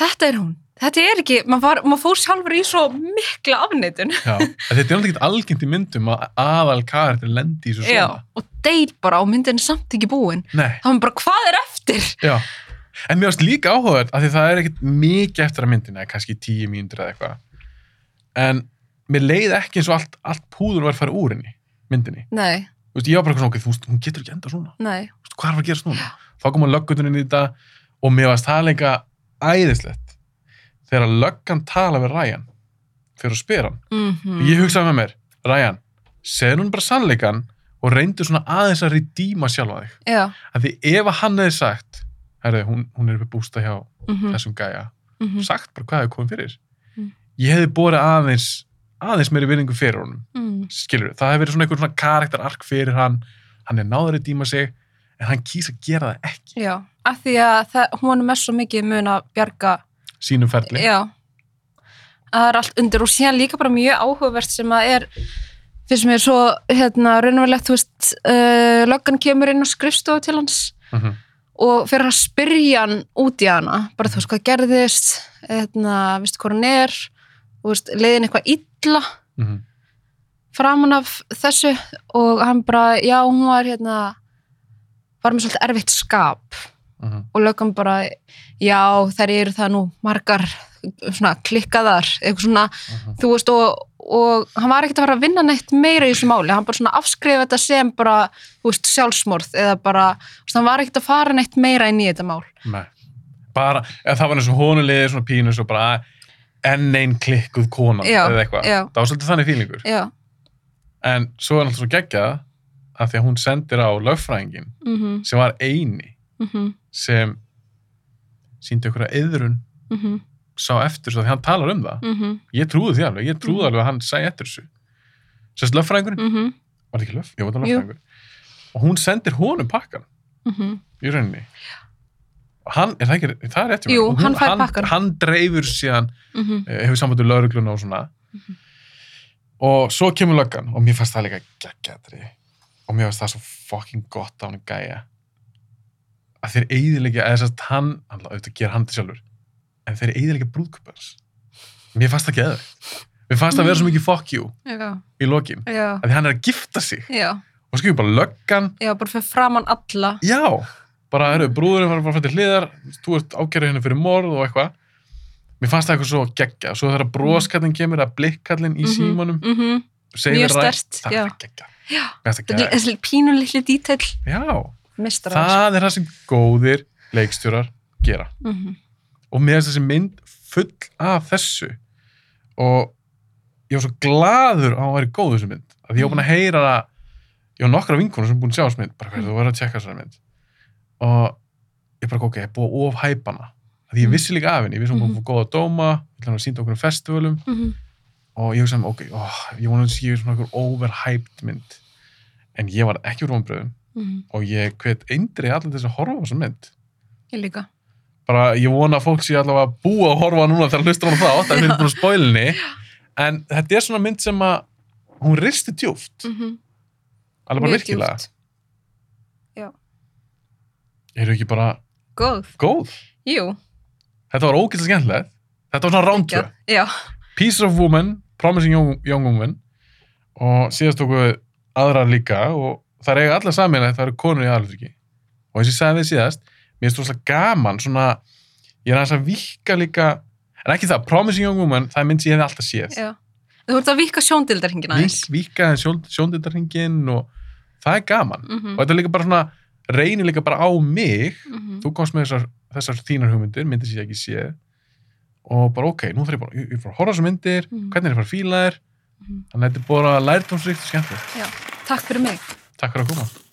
S2: Þetta er hún. Þetta er ekki, maður var- maður fór sjálfur í svo mikla afneitun.
S1: já. En þetta er náttúrulega ekki algengt í myndum að aðal karakter lendi í svo svona
S2: Já, og deyr bara og myndin er samt ekki búin.
S1: Nei.
S2: Það var bara, hvað er eftir?
S1: Já, en mér varst líka áhugað að því það er ekkert mikið eftir að myndina, kannski tíu mínútur eða eitthvað en mér leið ekki eins og allt, allt púður var að fara úr henni myndinni,
S2: Nei,
S1: þú veist, ég var bara eitthvað svona okay, þú veist, hún getur ekki enda svona,
S2: nei.
S1: þú veist, hvað er að gerast núna þá kom hann löggutunni inn í þetta og mér varst það líka æðislegt þegar löggan tala við Ryan fyrir að spyr hann
S2: Mm
S1: ég hugsaði með mér, Ryan segðu hún bara sannleikan og reyndu svona aðeins að redíma sjálfa þig
S2: Já.
S1: að því ef að hann hefði sagt herri, hún, hún er upp að bústa hjá
S2: Mm -hmm.
S1: þessum gæja,
S2: Mm -hmm.
S1: sagt bara hvað hefði komið fyrir
S2: Mm.
S1: ég hefði borið aðeins aðeins meiri virðingu fyrir honum
S2: Mhm.
S1: skilur, það hefði verið svona einhver svona karakterark fyrir hann, hann er náður að dýma sig en hann kýsa að gera það ekki
S2: Já, af því að það, hún er með svo mikið mun að bjarga.
S1: sínum ferli,
S2: Já. Það er allt undir og síðan líka bara mjög áhugavert sem að er finnst mér svo, hérna, raunverulegt, þú veist, uh, löggan kemur inn á skrifstofu til hans
S1: mm
S2: og fyrir að spyrja hann út í hana bara þú veist hvað gerðist hérna, veistu hvað hann er þú veist, leiðin eitthvað illa
S1: -hmm.
S2: framan af þessu og hann bara, já, hún var hérna var með svolítið erfitt skap
S1: Mm -hmm.
S2: og lögum bara, já, þær eru það nú margar svona klikkaðar, eitthvað svona þú veist, og, og hann var ekkert að fara að vinna neitt meira í þessu máli, hann bara svona afskrifa þetta sem bara, þú veist, sjálfsmorð eða bara, þú veist, hann var ekkert að fara neitt meira inn í þetta mál
S1: Nei. bara, eða það var eins og honulegði svona pínu svo bara að, enn einn klikkuð konan
S2: Já,
S1: eða eitthvað,
S2: já.
S1: það var svolítið þannig fílingur
S2: já,
S1: en svo er hann alltaf svo geggjað að því að hún sendir á lögfræðingin
S2: mhm,
S1: sem var eini
S2: mhm,
S1: sem síndi okkur að yðrun
S2: mhm,
S1: sá eftir svo því hann talar um það
S2: mhm,
S1: ég trúði því alveg, ég
S2: Mm.
S1: trúði alveg að hann sæði eftir þessu sérst löffræðingurinn,
S2: mhm,
S1: var það ekki löff? Jú, var það
S2: Jú.
S1: löffræðingur og hún sendir honum pakkan
S2: mhm,
S1: í rauninni og hann, er það ekki, það er eftir
S2: Jú, hann fær pakkann.
S1: hann, hann dreifur síðan,
S2: mhm,
S1: eh, hefur samband við laurugluna og svona
S2: Mhm.
S1: og svo kemur löggan og mér fannst það líka geggjadri og mér fannst það svo fucking gott á hann gæja að þeir eigðilega eða þess að hann, hann auðvitað gera hann til sjálfur en þeir eigðilega brúðkupans mér fannst það ekki eða mér fannst það vera svo mikið fuck you
S2: já,
S1: í lokin
S2: já,
S1: að því hann er að gifta sig
S2: já,
S1: og skilur bara löggan
S2: já, bara fyrir framann alla,
S1: já, bara eru brúðurinn var bara fyrir hliðar þú ert ákjæru henni fyrir morð og eitthvað mér fannst það eitthvað svo geggja svo þegar broskallin kemur að blikkallin í
S2: Mhm.
S1: símanum
S2: mhm,
S1: segir
S2: Mjög
S1: mér ræ-
S2: sterkt,
S1: það
S2: já.
S1: er geggja já,
S2: þessi pínu litli dítill
S1: já.
S2: mistar
S1: það er það sem góðir leikstjórar gera
S2: mm -hmm.
S1: og mér finnst þessi mynd full af þessu og ég var svo gladur á að vera góð í þessu mynd að ég var búin að heyra það ég var nokkra vinkonur sem búin að sjá þessu mynd bara hverju þú verður að tjekka þessu mynd og ég bara ok, ég er búin að ofhæpa hana að ég
S2: Mm. vissi
S1: vissi líka af henni, ég vissi hún búin að fá góða dóma ég ætla hann að sýnda okkur um festivalum og ég hugsa um, ok, ó, ég vona að sé svona okkur overhyped mynd en ég var ekki úr vonbröðum og ég hvet eindri allir þess að horfa á þessu mynd
S2: ég líka
S1: bara ég vona að fólk sé allavega að búa að horfa núna þegar hlustur hún þátt, það er búin að spoilinni en þetta er svona mynd sem að hún risti djúft,
S2: Mhm.
S1: alveg bara
S2: Mm, Mjög
S1: virkilega
S2: djúpt.
S1: eru ekki bara
S2: góð,
S1: góð,
S2: jú
S1: þetta var ógæslega skemmtilegt þetta var svona rándu,
S2: geggjað. já,
S1: Piece of Woman Promising Young, young Woman og síðast okkur aðrar líka og það eiga allar saminlega það eru konur í aðalutryki og eins og ég sagði við síðast mér finnst það gaman svona ég er aðeins að vikka líka en ekki það, Promising Young Woman, það er mynd sem ég hefði alltaf séð
S2: já þú ert að vika sjóndildar hingin aðeins
S1: Vík- víkka sjón, sjóndindarhingin og það er gaman og
S2: Mhm,
S1: þetta er líka bara svona, reynir líka bara á mig
S2: mhm.
S1: þú komst með þessar, þessar þínar hugmyndir myndir sem ég ekki sé og bara ok, nú þarf ég bara, ég, ég fór að horfa á þessar myndir
S2: Mhm.
S1: hvernig er ég fara að fíla þær
S2: Mhm.
S1: þannig að þetta er bara lærdómsrikt og skemmtilegt
S2: takk fyrir mig
S1: takk fyrir að koma